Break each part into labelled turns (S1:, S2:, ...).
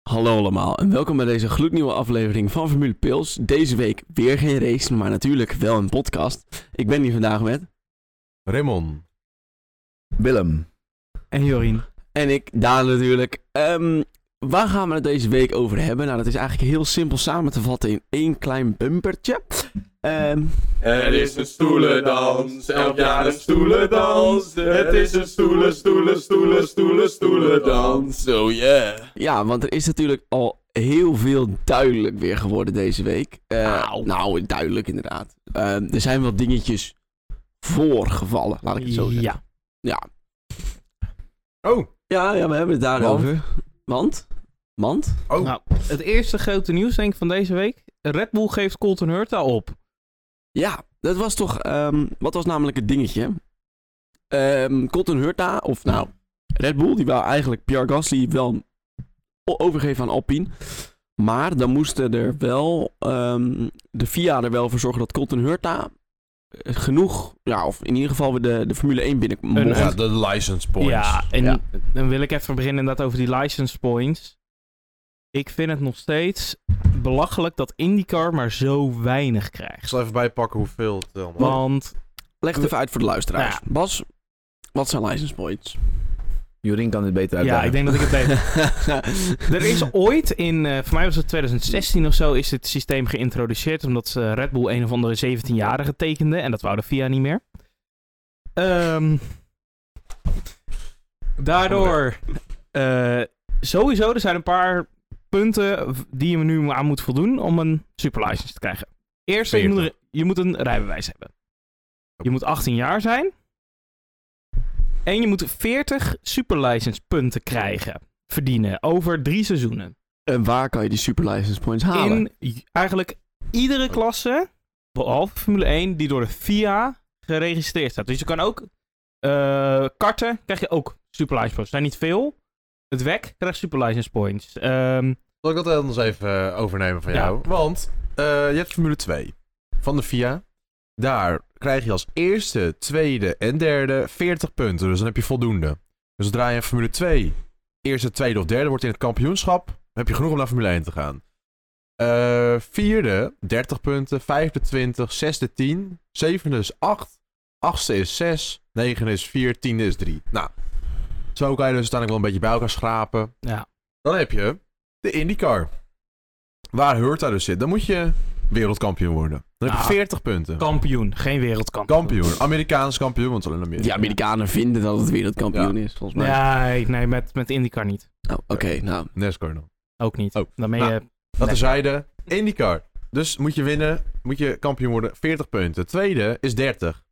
S1: Hallo allemaal en welkom bij deze gloednieuwe aflevering van Formule Pils. Deze week weer geen race, maar natuurlijk wel een podcast. Ik ben hier vandaag met
S2: Raymond.
S3: Willem.
S4: En Jorien.
S1: en ik, Daan natuurlijk. Ehm, waar gaan we het deze week over hebben? Nou, dat is eigenlijk heel simpel samen te vatten in één klein bumpertje. Ehm,
S5: Er is een stoelendans, elk jaar een stoelendans. Het is een stoelen, stoelen, stoelen, stoelen, stoelendans. Oh yeah.
S1: ja, want er is natuurlijk al heel veel duidelijk weer geworden deze week. Eh, nou, duidelijk inderdaad. Ehm, er zijn wel dingetjes voorgevallen, laat ik het zo zeggen.
S4: Ja.
S1: Ja.
S2: Oh,
S1: Ja, ja, we hebben het daarover. Want? Want?
S2: oh.
S4: Nou, het eerste grote nieuws denk ik van deze week. Red Bull geeft Colton Hurta op.
S1: Ja, dat was toch... ehm, wat was namelijk het dingetje? Ehm Colton Hurta, of nou... Red Bull, die wou eigenlijk Pierre Gasly wel o- overgeven aan Alpine. Maar dan moesten er wel... ehm, de FIA er wel voor zorgen dat Colton Hurta... eh, genoeg... Ja, of in ieder geval weer de, de Formule 1 binnen mocht.
S2: Ja, de license points.
S4: Ja, en
S1: Ja.
S4: dan wil ik even beginnen inderdaad over die license points. Ik vind het nog steeds belachelijk dat IndyCar maar zo weinig
S2: Ik
S4: krijgt.
S2: zal even bijpakken hoeveel het allemaal
S4: Want
S1: Leg het even uit voor de luisteraars.
S4: Nou
S1: Bas, wat zijn license points?
S3: Jorien kan dit beter
S4: ja,
S3: uitleggen.
S4: ik denk dat ik het beter... er is ooit in, eh, voor mij was het 2016 of zo, is dit systeem geïntroduceerd. Omdat eh, Red Bull een of andere 17-jarige tekende. En dat wou de FIA niet meer. Ehm, daardoor, eh, sowieso, er zijn een paar punten v- die je nu aan moet voldoen om een superlicense te krijgen. Eerst, je moet, een- je moet een rijbewijs hebben. Je moet 18 jaar zijn. En je moet 40 superlicense punten krijgen, verdienen, over drie seizoenen.
S1: en waar kan je die super license points halen?
S4: In j- eigenlijk iedere klasse, behalve Formule 1, die door de FIA geregistreerd staat. Dus je kan ook eh, karten, krijg je ook superlicense points. Er zijn niet veel. Het WEC krijgt superlicense points. Ehm,
S2: Zal ik dat anders even eh, overnemen van
S4: Ja.
S2: jou? Want eh, je hebt Formule 2 van de FIA. Daar krijg je als eerste, tweede en derde 40 punten. Dus dan heb je voldoende. Dus zodra je in Formule 2 eerste, tweede of derde wordt in het kampioenschap, dan heb je genoeg om naar Formule 1 te gaan. Eh, vierde, 30 punten. Vijfde, 20. Zesde, 10. Zevende is 8. Achtste is 6. Negende is 4. Tiende is 3. Nou, zo kan je dus uiteindelijk wel een beetje bij elkaar schrapen.
S4: Ja.
S2: Dan heb je de IndyCar. Waar Hurta dus zit. Dan moet je wereldkampioen worden. Dan heb je
S4: Ah.
S2: 40 punten.
S4: kampioen, geen wereldkampioen.
S2: Kampioen. Amerikaans kampioen, want het is alleen
S1: Die
S2: Amerika.
S1: Amerikanen vinden dat het wereldkampioen is, volgens mij.
S4: Nee, nee met, met IndyCar niet.
S1: Oh, Oké, nou.
S2: NASCAR nog.
S4: Ook niet. eh,
S2: Oh,
S4: Dan ben
S2: nou,
S4: je...
S2: Dat
S4: Nee.
S2: terzijde, IndyCar. Dus moet je winnen, moet je kampioen worden, 40 punten. Tweede is 30.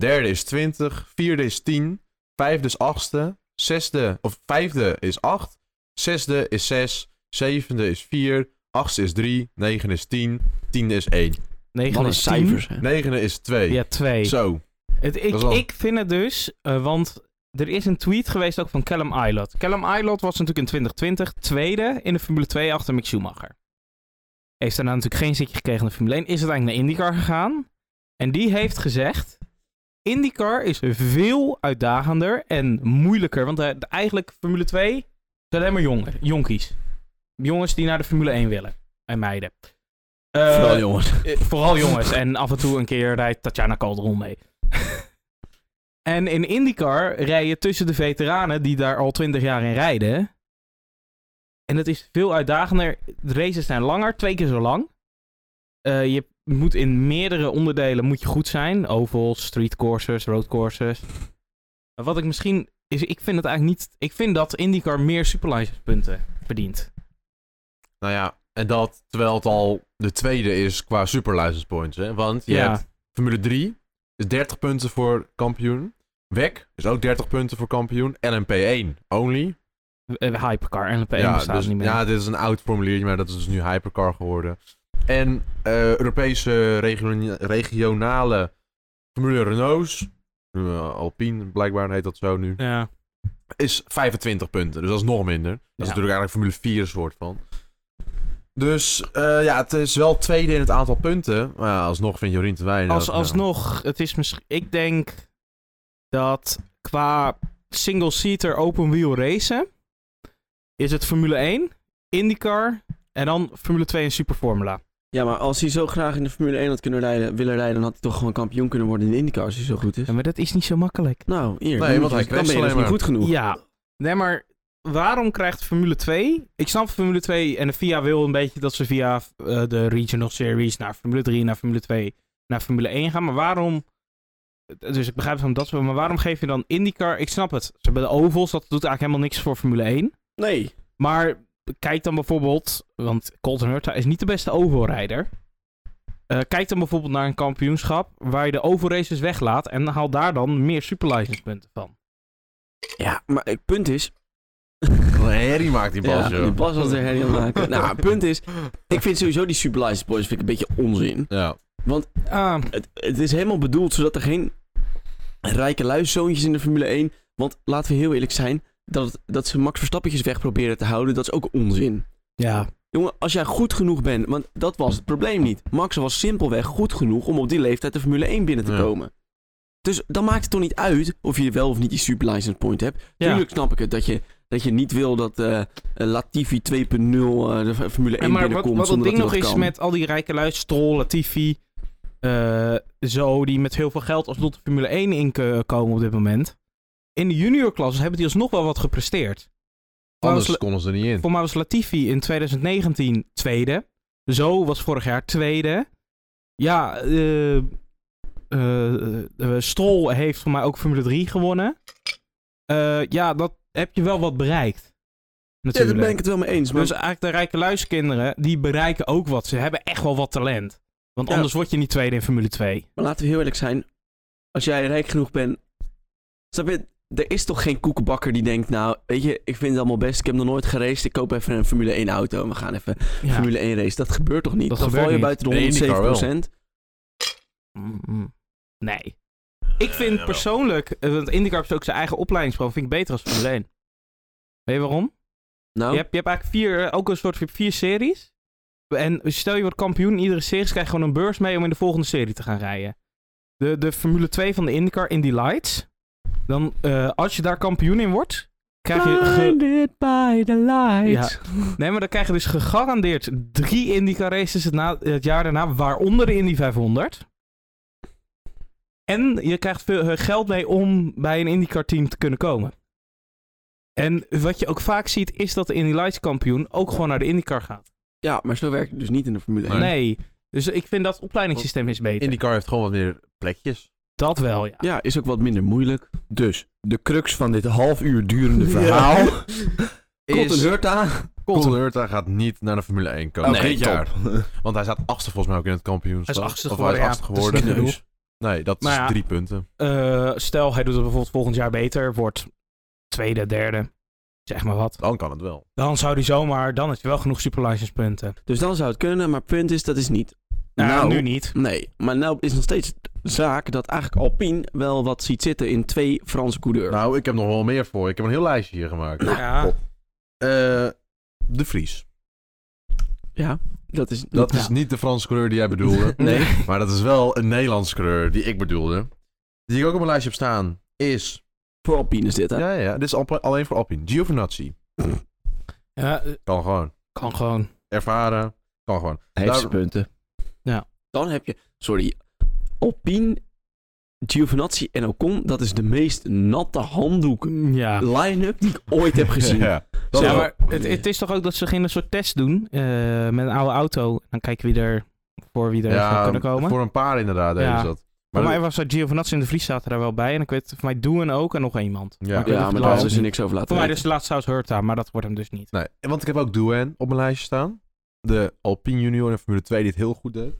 S2: Derde is 20. Vierde is 10. Vijfde is achtste. Zesde, of vijfde is 8. Zesde is 6. Zevende is 4. Achtste is 3. Negende is 10. Tiende is 1.
S4: negen
S1: Wat een
S4: is tien.
S1: cijfers, hè?
S2: Negende is 2.
S4: Ja, twee.
S2: Zo.
S4: Het, ik,
S2: Dat is wel-
S4: ik vind het dus, eh, want er is een tweet geweest ook van Callum Eilert. Callum Eilert was natuurlijk in 2020 tweede in de Formule 2 achter Mick Schumacher. Heeft daarna natuurlijk geen zitje gekregen in de Formule 1. Is uiteindelijk naar IndyCar gegaan. En die heeft gezegd, IndyCar is veel uitdagender en moeilijker. Want eh, de- eigenlijk Formule 2 zijn alleen maar jongen, jonkies. Jongens die naar de Formule 1 willen. En meiden. Eh,
S1: Vooral jongens.
S4: eh, Vooral jongens. En af en toe een keer rijdt Tatjana Calderon mee. en in IndyCar rij je tussen de veteranen die daar al 20 jaar in rijden. En dat is veel uitdagender. De races zijn langer, twee keer zo lang. Eh, je moet in meerdere onderdelen moet je goed zijn. Ovals, streetcourses, roadcourses. Maar Wat ik misschien... Is, ik vind het eigenlijk niet... Ik vind dat IndyCar meer superlicense punten verdient.
S2: Nou ja, en dat terwijl het al de tweede is qua super license points. Hè? Want je
S4: Ja.
S2: hebt Formule 3 is 30 punten voor kampioen. WEC is ook 30 punten voor kampioen. LMP1 only.
S4: Eh, Hypercar en LP1
S2: ja,
S4: bestaat
S2: dus-
S4: niet meer.
S2: ja, dit is een oud formuliertje, maar dat is dus nu Hypercar geworden. En eh, Europese regio- regionale Formule Renaults, eh, Alpine blijkbaar heet dat zo nu,
S4: ja.
S2: is 25 punten. Dus dat is nog minder. Dat is
S4: Ja.
S2: natuurlijk eigenlijk Formule 4 een soort van. Dus eh, ja, het is wel tweede in het aantal punten. Maar ja, alsnog vindt Jorien te weinig. nou.
S4: Als,
S2: Ja.
S4: alsnog, het is misschien. Ik denk dat qua single-seater open wheel racen. is het Formule 1, IndyCar en dan Formule 2 en Superformula.
S1: Ja, maar als hij zo graag in de Formule 1 had kunnen rijden, willen rijden, dan had hij toch gewoon kampioen kunnen worden in de IndyCar als hij zo goed is.
S4: Ja, maar dat is niet zo makkelijk.
S1: Nou, hier.
S2: Nee, want hij
S1: dan ben
S2: kwetst
S1: je dus
S2: alleen
S1: niet
S2: maar.
S1: goed genoeg.
S4: Ja. Nee, maar waarom krijgt Formule 2... Ik snap Formule 2 en de FIA wil een beetje dat ze via eh, de Regional Series naar Formule 3, naar Formule 2, naar Formule 1 gaan. Maar waarom... Dus ik begrijp het van dat soort- maar waarom geef je dan IndyCar... Ik snap het. Ze hebben de ovals, dat doet eigenlijk helemaal niks voor Formule 1.
S1: Nee.
S4: Maar kijk dan bijvoorbeeld, want Colton Herta is niet de beste overrijder. Eh, kijk dan bijvoorbeeld naar een kampioenschap waar je de overraces weglaat en haal daar dan meer superlicense punten van.
S1: Ja, maar het punt is...
S2: Wat een herrie maakt die
S1: Ja,
S2: Bas, joh.
S1: die Bas was er helemaal maken. nou, het punt is, ik vind sowieso die Superlicense Boys vind ik een beetje onzin.
S2: Ja.
S4: Ah,
S1: Het, het is helemaal bedoeld zodat er geen rijke luiszoontjes in de Formule 1... Want laten we heel eerlijk zijn, dat, het- dat ze Max Verstappetjes weg proberen te houden, dat is ook onzin.
S4: ja.
S1: Jongen, als jij goed genoeg bent, want dat was het probleem niet. Max was simpelweg goed genoeg om op die leeftijd de Formule 1 binnen te
S2: Ja.
S1: komen. Dus dan maakt het toch niet uit of je wel of niet die superlicense point hebt.
S4: Ja.
S1: Tuurlijk snap ik het, dat je, dat je niet wil dat eh, eh, Latifi 2.0 eh, de v- Formule 1
S4: En maar wat,
S1: binnenkomt
S4: wat het
S1: zonder
S4: ding
S1: dat
S4: nog
S1: hij dat
S4: is
S1: kan.
S4: met al die rijke lui, Stroll, Latifi, eh, zo, die met heel veel geld als de Formule 1 inkomen op dit moment. In de juniorklassen hebben die alsnog wel wat gepresteerd.
S2: Anders
S4: Trouwens,
S2: konden ze er niet in.
S4: Voor mij was Latifi in 2019 tweede. Zo was vorig jaar tweede. Ja, eh eh, eh, Stroll heeft voor mij ook Formule 3 gewonnen. Eh, ja, dat heb je wel wat bereikt.
S1: Ja, daar
S4: Natuurlijk.
S1: ben ik het wel mee eens. Maar
S4: Dus eigenlijk de rijke luiskinderen, die bereiken ook wat. Ze hebben echt wel wat talent. Want
S1: Ja.
S4: anders word je niet tweede in Formule 2.
S1: Maar laten we heel eerlijk zijn. Als jij rijk genoeg bent. Snap je? Er is toch geen koekenbakker die denkt. Nou, weet je, ik vind het allemaal best. Ik heb nog nooit geraced. Ik koop even een Formule 1 auto. En we gaan even
S4: Ja.
S1: Formule 1 race. Dat gebeurt toch niet?
S4: Dat
S1: dan
S4: gebeurt
S1: val je
S4: niet.
S1: buiten de
S2: Nee, IndyCar
S1: 107
S2: wel.
S4: Mm, mm. Nee. Ik vind persoonlijk, eh, want IndyCar heeft ook zijn eigen opleidingsprogramma, vind ik beter als Formule 1. Weet je waarom?
S1: Nou,
S4: Je, hebt, je hebt eigenlijk vier, eh, ook een soort van vier series. En stel je wordt kampioen in iedere series, krijg je gewoon een beurs mee om in de volgende serie te gaan rijden. De, de Formule 2 van de IndyCar, Indy Lights. Dan, eh, als je daar kampioen in wordt, krijg je... ge-
S1: by the light.
S4: Ja. Nee, maar dan krijg je dus gegarandeerd drie IndyCar races het, na, het jaar daarna, waaronder de Indy 500. En je krijgt veel eh, geld mee om bij een IndyCar team te kunnen komen. En wat je ook vaak ziet, is dat de Indy Lights kampioen ook gewoon naar de IndyCar gaat.
S1: Ja, maar zo werkt het dus niet in de Formule 1.
S4: Nee. Dus ik vind dat het opleidingssysteem is beter.
S2: IndyCar heeft gewoon wat meer plekjes.
S4: Dat wel, ja.
S1: Ja, is ook wat minder moeilijk.
S3: Dus, de crux van dit half uur durende verhaal
S1: Komt een
S3: is...
S1: hurt aan.
S2: Colton Hurta gaat niet naar de Formule 1 komen.
S3: Oké,
S2: Dit jaar.
S3: top.
S2: Want hij staat achtste volgens mij ook in het kampioenschap.
S4: Hij is achtste
S2: Of
S4: geworden,
S2: hij
S4: ja.
S2: is achtste
S4: Dat is
S2: geworden. Dus-
S4: niet genoeg.
S2: Nee, dat
S4: Maar
S2: is
S4: ja.
S2: drie punten.
S4: Eh, stel, hij doet het bijvoorbeeld volgend jaar beter, wordt tweede, derde, zeg maar wat.
S2: Dan kan het wel.
S4: Dan zou hij zomaar, dan heeft hij wel genoeg superlicense punten.
S1: Dus dan zou het kunnen, maar punt is, dat is niet.
S4: Nou, nu niet.
S1: Nee, maar nou is nog steeds zaak dat eigenlijk Alpine wel wat ziet zitten in twee Franse coureurs.
S2: Nou, ik heb nog wel meer voor. Ik heb een heel lijstje hier gemaakt.
S4: Ja.
S2: Op. Eh, de Vries.
S1: ja, dat is...
S2: Dat
S1: Ja.
S2: is niet de Franse coureur die jij bedoelde.
S1: Nee.
S2: maar dat is wel een Nederlandse coureur die ik bedoelde. Die ik ook op mijn lijstje heb staan is...
S1: Voor Alpine is dit, hè?
S2: Ja, ja, dit is al- alleen voor Alpine. Giovinazzi.
S4: Ja, eh,
S2: Kan gewoon.
S4: kan gewoon.
S2: Ervaren. Kan gewoon.
S3: Hij heeft
S2: Nou,
S3: zijn punten.
S1: Dan heb je... Sorry. Alpine, Giovinazzi en Ocon, dat is de meest natte handdoek
S4: Ja.
S1: line-up die ik ooit heb gezien.
S2: Ja, dat
S1: Ja,
S2: wel.
S4: maar het, het is toch ook dat ze geen soort test doen eh, met een oude auto. Dan kijken wie er voor wie er zou kunnen komen. Voor,
S2: voor een paar inderdaad deden
S4: Ja.
S2: ze dat.
S4: mij was eh, dat Giovinazzi in de Vries zaten daar wel bij. En ik weet, voor mij Doen ook en nog iemand.
S2: Ja.
S4: ik
S1: Ja,
S4: weet niet of
S1: maar
S4: het
S1: daar
S4: laatste
S1: is er
S4: niet.
S1: niks over laten
S4: Voor mij
S1: weten.
S4: dus de laatste zou Hurta, maar dat wordt hem dus niet.
S2: Nee, want ik heb ook Duane op mijn lijstje staan. De Alpine junior in Formule 2 die het heel goed deed.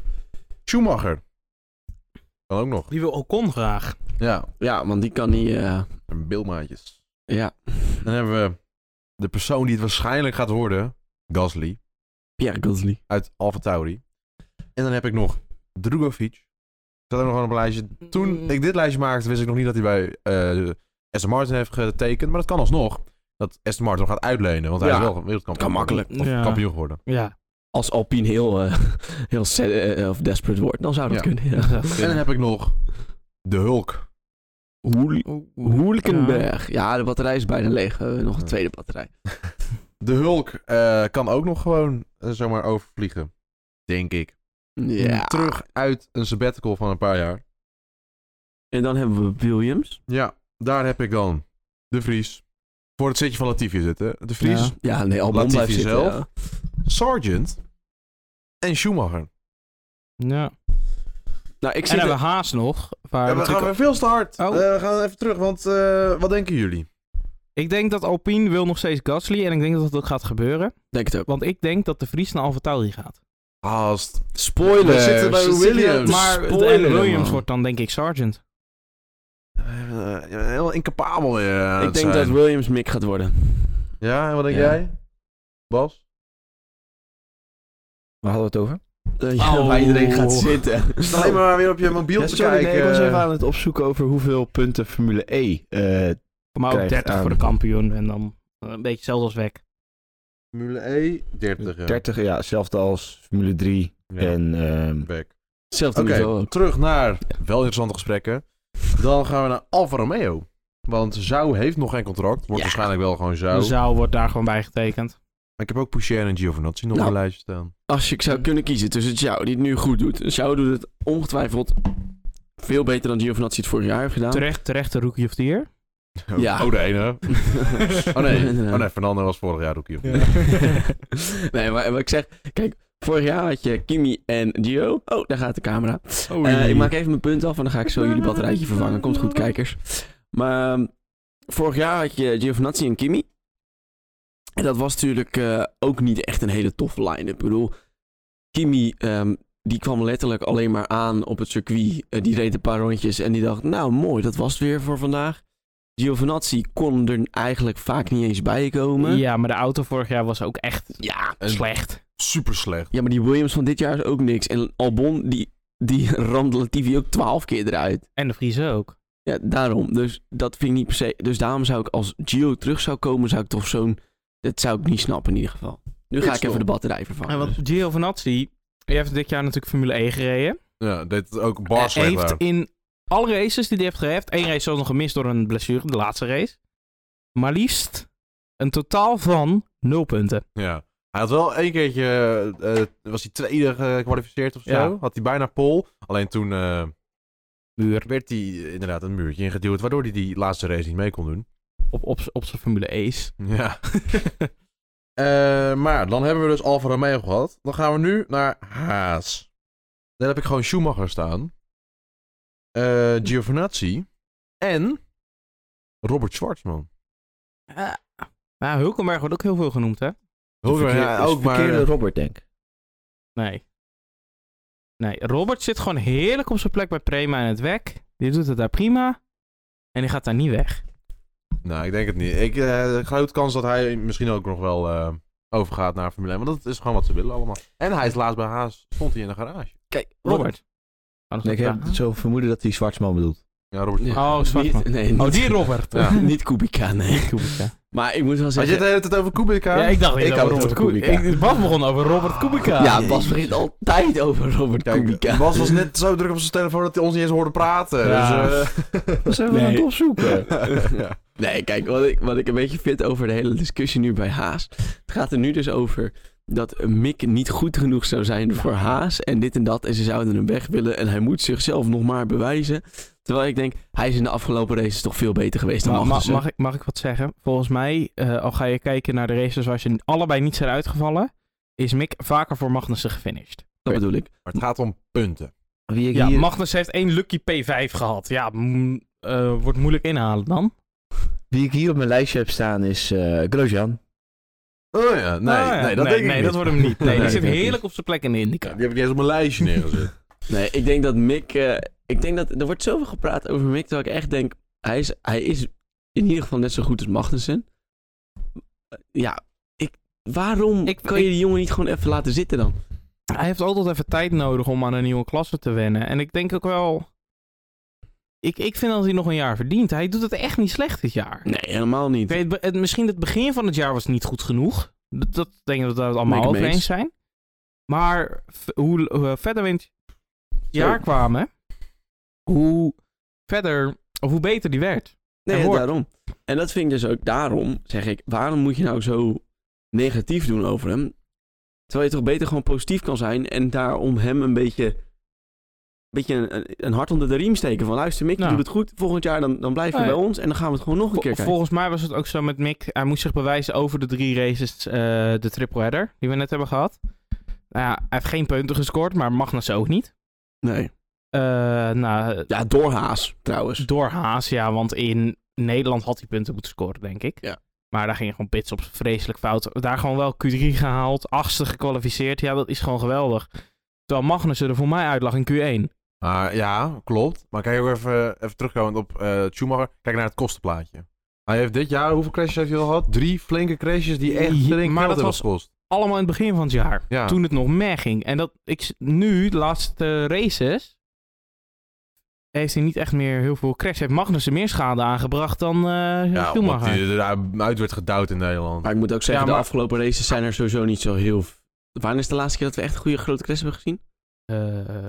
S2: Schumacher. Kan ook nog.
S4: Die wil Ocon graag.
S2: Ja,
S1: Ja, want die kan niet... eh,
S2: en bilmaatjes.
S1: ja,
S2: Dan hebben we de persoon die het waarschijnlijk gaat worden. Gasly.
S1: Pierre Gasly.
S2: Uit Alfa Tauri. En dan heb ik nog Drugovic. Zat ook nog wel op mijn lijstje.
S4: Mm.
S2: Toen ik dit lijstje maakte, wist ik nog niet dat hij bij eh Aston Martin heeft getekend. Maar dat kan alsnog. Dat Aston Martin hem gaat uitlenen. Want hij
S1: Ja,
S2: is wel wereldkampioen.
S1: kan makkelijk.
S2: Of
S4: Ja.
S2: kampioen geworden.
S4: Ja.
S1: Als Alpine heel, eh, heel sad, eh, of desperate wordt, dan zou dat
S2: Ja.
S1: kunnen. Ja.
S2: En dan heb ik nog de Hulk.
S1: Hoel- Hoelkenberg. Ja, de batterij is bijna leeg. We hebben nog een
S2: Ja.
S1: tweede batterij.
S2: De Hulk eh, kan ook nog gewoon eh, zomaar overvliegen. Denk ik.
S1: Ah. Ja.
S2: Terug uit een sabbatical van een paar jaar.
S1: En dan hebben we Williams.
S2: Ja, daar heb ik dan De Vries. Voor het zitje van Latifi zitten. De Vries,
S4: Ja.
S1: Ja, nee, Albon
S2: Latifi
S1: blijft zitten.
S2: zelf.
S1: ja.
S2: Sargent en Schumacher.
S4: Ja.
S1: Nou, ik
S4: En
S1: zit
S4: hebben
S1: er-
S4: we Haas nog. Waar
S2: Ja, we
S4: natuurlijk-
S2: gaan weer veel te hard.
S4: Oh.
S2: Eh, we gaan even terug, want eh, wat denken jullie?
S4: Ik denk dat Alpine wil nog steeds Gasly. En ik denk dat dat ook gaat gebeuren.
S1: denk het ook.
S4: Want ik denk dat de Vries naar Alfa Tauri gaat.
S2: Haast.
S1: Spoiler.
S2: We Eh, zitten bij Williams.
S4: Maar en
S1: spoiler,
S4: Williams
S1: man.
S4: wordt dan denk ik Sargent.
S2: Eh, ja, heel incapabel weer. eh, aan
S1: Ik
S2: het
S1: denk
S2: zijn.
S1: dat Williams Mick gaat worden.
S2: Ja, en wat denk
S3: Ja.
S2: jij? Bas?
S3: Waar hadden we het over?
S1: Eh, ja,
S4: Oh.
S1: Waar iedereen gaat zitten.
S2: Sta alleen maar weer op je mobiel
S3: Ja,
S2: te
S3: sorry, nee,
S2: kijken.
S3: ik was even aan het opzoeken over hoeveel punten Formule E. eh,
S4: Maar ook
S3: Krijgt
S4: 30
S3: aan.
S4: voor de kampioen. En dan eh, een beetje hetzelfde als weg.
S2: Formule E, 30. ja.
S3: 30, ja, hetzelfde als Formule 3.
S2: Ja,
S3: En ehm,
S2: back.
S1: Hetzelfde
S2: Oké,
S1: niveau ook.
S2: terug naar wel interessante gesprekken. Dan gaan we naar Alfa Romeo. Want Zou heeft nog geen contract. Wordt
S1: Ja.
S2: waarschijnlijk wel gewoon Zou.
S4: De zaal wordt daar gewoon bij getekend.
S2: Maar ik heb ook Poucher en Giovinazzi nog
S1: Nou.
S2: op mijn lijstje staan.
S1: Als ik zou kunnen kiezen tussen Zhao, die het nu goed doet. Zhao doet het ongetwijfeld veel beter dan Giovinazzi het vorig jaar heeft gedaan.
S4: Terecht, terecht de rookie of the year.
S1: Ja.
S2: Oh, de ene. Oh nee.
S1: Inderdaad.
S2: oh nee, Fernando was vorig jaar ook hier.
S1: nee, maar wat ik zeg... Kijk, vorig jaar had je Kimi en Gio. Oh, daar gaat de camera.
S2: Oh,
S1: Eh, ik maak even mijn punt af en dan ga ik zo jullie batterijtje vervangen. Komt goed, kijkers. Maar ehm, vorig jaar had je Giovinazzi en Kimi. En dat was natuurlijk eh, ook niet echt een hele toffe line-up. Ik bedoel, Kimi ehm, die kwam letterlijk alleen maar aan op het circuit. Eh, die reed een paar rondjes en die dacht, nou mooi, dat was het weer voor vandaag. Giovinazzi kon er eigenlijk vaak niet eens bij komen.
S4: Ja, maar de auto vorig jaar was ook echt
S1: ja,
S4: slecht.
S2: Super slecht.
S1: ja, maar die Williams van dit jaar is ook niks. En Albon, die, die ramde Latifi ook twaalf keer eruit.
S4: En de Friese ook.
S1: Ja, daarom. Dus dat vind ik niet per se. Dus daarom zou ik als Gio terug zou komen, zou ik toch zo'n. Dat zou ik niet snappen in ieder geval. Nu ga ik
S2: Ik
S1: even
S2: snap.
S1: de batterij vervangen. Dus
S4: En want Giovinazzi, die heeft dit jaar natuurlijk Formule E gereden.
S2: Ja, deed het ook
S4: Hij
S2: bar slecht
S4: heeft
S2: daar.
S4: in alle races die hij heeft gereden, één race zelfs nog gemist door een blessure, de laatste race. Maar liefst een totaal van nul punten.
S2: Ja. Hij had wel één keertje, eh, was hij tweede gekwalificeerd of zo.
S4: Ja.
S2: Had hij bijna pol. Alleen toen eh,
S4: Muur.
S2: werd hij inderdaad een muurtje ingeduwd, waardoor hij die laatste race niet mee kon doen.
S4: Op, op, op zijn Formule E E's.
S2: Ja. Eh, maar dan hebben we dus Alfa Romeo gehad. Dan gaan we nu naar Haas. Daar heb ik gewoon Schumacher staan. Eh, Giovinazzi. En Robert Schwartzman.
S4: Ja. Nou, Hulkenberg wordt ook heel veel genoemd, hè?
S2: Hulkenberg,
S3: verkeer-
S2: ja, ook maar- eh,
S3: verkeerde Robert, denk ik.
S4: Nee. Nee, Robert zit gewoon heerlijk op zijn plek bij Prema in het WEC. Die doet het daar prima. En die gaat daar niet weg.
S2: Nou, ik denk het niet. Ik eh grote kans dat hij misschien ook nog wel eh, overgaat naar Formule 1. Want dat is gewoon wat ze willen allemaal. En hij is laatst bij Haas, stond hij in de garage.
S1: Kijk,
S4: Robert. Oh, nog
S3: Nee, ik
S4: een
S3: heb
S4: vraag.
S3: zo vermoeden dat hij Zwartsman bedoelt.
S2: Ja, Robert.
S1: Ja.
S4: Oh, zwart man.
S1: Niet, nee, niet,
S4: Oh, die Robert.
S2: Ja.
S1: niet Kubica, nee.
S4: Kubica.
S1: Maar ik moet wel
S2: Had je
S1: zeggen.
S2: het de hele tijd over Kubica?
S4: Ja, ik dacht
S3: Ik
S4: dat
S3: had
S4: Robert
S3: het over
S4: Kubica.
S3: Kubica.
S4: Ik, Bas begon over Robert Kubica.
S1: ja, Bas begint altijd over Robert
S2: Kijk,
S1: Kubica.
S2: Bas was net zo druk op zijn telefoon dat hij ons niet eens hoorde praten.
S4: Ja.
S2: Dus,
S3: Dat zijn we
S1: Nee.
S3: aan het opzoeken.
S2: eh, ja.
S1: Nee, kijk, wat ik, wat ik een beetje vind over de hele discussie nu bij Haas. Het gaat er nu dus over dat Mick niet goed genoeg zou zijn voor Haas. En dit en dat. En ze zouden hem weg willen. En hij moet zichzelf nog maar bewijzen. Terwijl ik denk, hij is in de afgelopen races toch veel beter geweest dan
S4: Ma- ma-
S1: Magnussen.
S4: mag, ik, mag ik wat zeggen? Volgens mij, eh, al ga je kijken naar de races waar ze allebei niet zijn uitgevallen, is Mick vaker voor Magnussen gefinished.
S1: Dat bedoel ik.
S2: Maar het gaat om punten.
S3: Wie ik
S4: Ja,
S3: hier...
S4: Magnussen heeft één lucky P5 gehad. Ja, mm, eh, wordt moeilijk inhalen dan.
S3: Wie ik hier op mijn lijstje heb staan is eh Grosjean.
S2: Oh ja, nee,
S4: Ah, ja.
S2: nee, dat denk ik
S4: nee,
S2: niet.
S4: dat wordt hem niet. Nee,
S2: Nee,
S4: die zit
S3: dat
S4: heerlijk op zijn plek in de
S2: Ja,
S4: Indica.
S2: die heb ik niet eens op mijn lijstje neergezet.
S1: Nee, ik denk dat Mick... eh, ik denk dat... Er wordt zoveel gepraat over Mick, terwijl ik echt denk... Hij is, hij is in ieder geval net zo goed als Magnussen. Ja, ik... Waarom
S4: Ik-
S1: kan
S4: ik-
S1: je die jongen niet gewoon even laten zitten dan?
S4: Hij heeft altijd even tijd nodig om aan een nieuwe klasse te wennen. En ik denk ook wel... Ik, ik vind dat hij nog een jaar verdient. Hij doet het echt niet slecht dit jaar.
S1: Nee, helemaal
S4: Ik
S1: niet.
S4: weet, het, het- misschien het begin van het jaar was niet goed genoeg. Dat, dat denk ik dat we het allemaal
S1: Ben ik het
S4: over
S1: mee
S4: eens
S1: eens.
S4: zijn. Maar v- hoe, hoe verder we in het jaar kwamen, hoe verder, of hoe beter die werd.
S1: Nee,
S4: En hoor.
S1: daarom. En dat vind ik dus ook daarom, zeg ik, waarom moet je nou zo negatief doen over hem. Terwijl je toch beter gewoon positief kan zijn en daarom hem een beetje, een beetje een, een- een hart onder de riem steken. Van luister Mick, je
S4: Ja.
S1: doet het goed. Volgend jaar dan, dan blijf je
S4: Nee.
S1: bij ons en dan gaan we het gewoon nog een
S4: Vol-
S1: keer kijken.
S4: volgens mij was het ook zo met Mick. Hij moest zich bewijzen over de drie races, eh, de triple header die we net hebben gehad. Nou ja, hij heeft geen punten gescoord, maar Magnus ook niet.
S1: Nee.
S4: Eh, nou,
S1: Ja, door Haas trouwens.
S4: door Haas, ja, want in Nederland had hij punten moeten scoren, denk ik.
S1: Ja.
S4: Maar daar ging gewoon pits op vreselijk fout. Daar gewoon wel Q3 gehaald, achtste gekwalificeerd. Ja, dat is gewoon geweldig. Terwijl Magnussen er voor mij uit lag in Q1.
S2: Maar ja, klopt. Maar kijk ook even, even terugkomend op eh Schumacher. Kijk naar het kostenplaatje. Hij heeft dit jaar, hoeveel crashes heeft hij al gehad? Drie flinke crashes die echt
S4: Ja,
S2: flink
S4: maar
S2: geld
S4: dat
S2: hebben
S4: was-
S2: gekost.
S4: Allemaal in het begin van het jaar.
S2: Ja.
S4: toen het nog mee ging. En dat ik s- nu, de laatste races, heeft hij niet echt meer heel veel crash. Heeft Magnussen meer schade aangebracht dan eh
S2: ja, omdat
S4: Schumacher.
S2: hij eruit werd gedouwd in Nederland.
S1: Maar ik moet ook zeggen,
S4: Ja, maar-
S1: de afgelopen races zijn er sowieso niet zo heel... v- Wanneer is de laatste keer dat we echt een goede grote crash hebben gezien?
S4: Eh,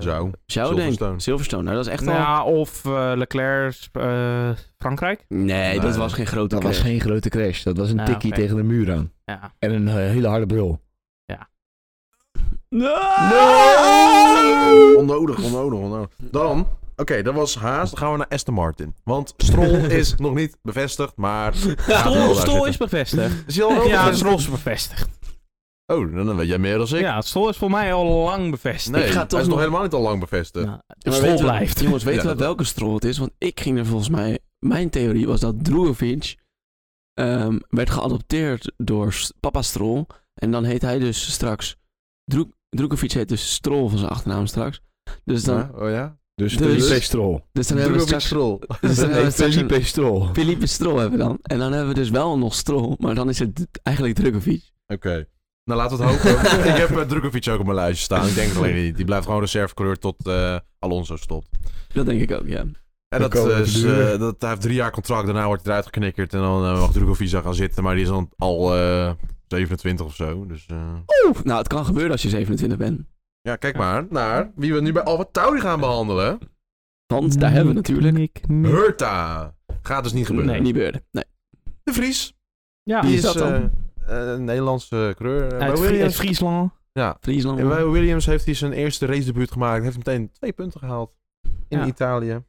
S2: Zo.
S1: Zou
S2: Silverstone.
S1: denk ik. Silverstone. Nou, dat is echt
S4: nou,
S1: al...
S4: ja, of eh, Leclerc, eh, Frankrijk.
S1: Nee, dat
S2: Nee.
S1: was geen grote
S3: Dat was
S1: crash.
S3: geen grote crash. Dat was een
S4: Ah,
S3: tikkie
S4: oké.
S3: tegen de muur aan.
S4: Ja.
S3: En een eh, hele harde brul.
S1: Nee!
S4: Oh!
S2: Onnodig, onnodig, onnodig. Dan, oké, dat was Haas. Dan gaan we naar Aston Martin. Want Stroll is nog niet bevestigd, maar... gaat er wel
S4: Stol,
S2: uit
S4: Stol
S2: zitten.
S4: is bevestigd.
S2: Is hij al wel
S4: ja,
S2: bevestigd?
S4: Stol is bevestigd.
S2: Oh, dan dan weet jij meer dan ik.
S4: Ja, Stol is voor mij al lang bevestigd.
S2: Nee,
S1: Ik ga
S2: hij
S1: toch
S2: is nog...
S1: nog-
S2: helemaal niet al lang bevestigd.
S4: Nou,
S1: Ja, maar
S4: Stroll
S1: weten we-
S4: blijft.
S1: jongens, weten
S2: Ja,
S1: we
S2: dat wel.
S1: welke strol het is? Want ik ging er volgens mij... Mijn theorie was dat Drogovic ehm, werd geadopteerd door s- papa Strol. En dan heet hij dus straks... Dro Drogovic heet dus Strol van zijn achternaam straks. Dus dan,
S2: Ja, oh ja?
S3: Dus
S1: Dus-
S3: Felipe Stroll.
S1: dus dan hebben we straks...
S2: Stroll.
S1: Dus dan hebben we
S3: Nee,
S1: straks een-
S3: Felipe Stroll.
S1: Felipe Strol hebben we dan. En dan hebben we dus wel nog Strol, maar dan is het d- eigenlijk Drukovic.
S2: Oké. Nou, laten we het hopen. ik heb uh, Drukovic ook op mijn lijstje staan. Ik denk het alleen niet. Die blijft gewoon reservecoureur tot eh, Alonso stopt.
S1: Dat denk ik ook, ja.
S2: En
S3: Dan
S2: dat,
S3: komen we
S2: is,
S3: te duur.
S2: eh, dat, hij heeft drie jaar contract. Daarna wordt hij eruit geknikkerd. En dan eh, mag Drukovic daar gaan zitten. Maar die is dan al eh, 27 of zo. Dus eh,
S1: Oeh, nou, het kan gebeuren als je 27 bent.
S2: ja, kijk maar naar wie we nu bij Alfa Tauri gaan behandelen.
S1: Want
S4: Mm.
S1: daar hebben we natuurlijk
S4: Nick, Nick.
S2: Hurta. Gaat dus niet gebeuren.
S4: Nee.
S1: niet beurde. Nee.
S2: De Vries.
S4: Ja,
S1: Wie
S2: Die
S1: is
S2: is
S1: dat dan?
S2: eh, eh, een Nederlandse coureur. Eh,
S4: uit,
S2: Mo
S4: Fri- uit
S2: Williams.
S4: Friesland.
S2: Ja.
S1: Friesland.
S2: En Mo Williams heeft hij zijn eerste race debuut gemaakt. Heeft meteen twee punten gehaald. in
S4: Ja.
S2: Italië.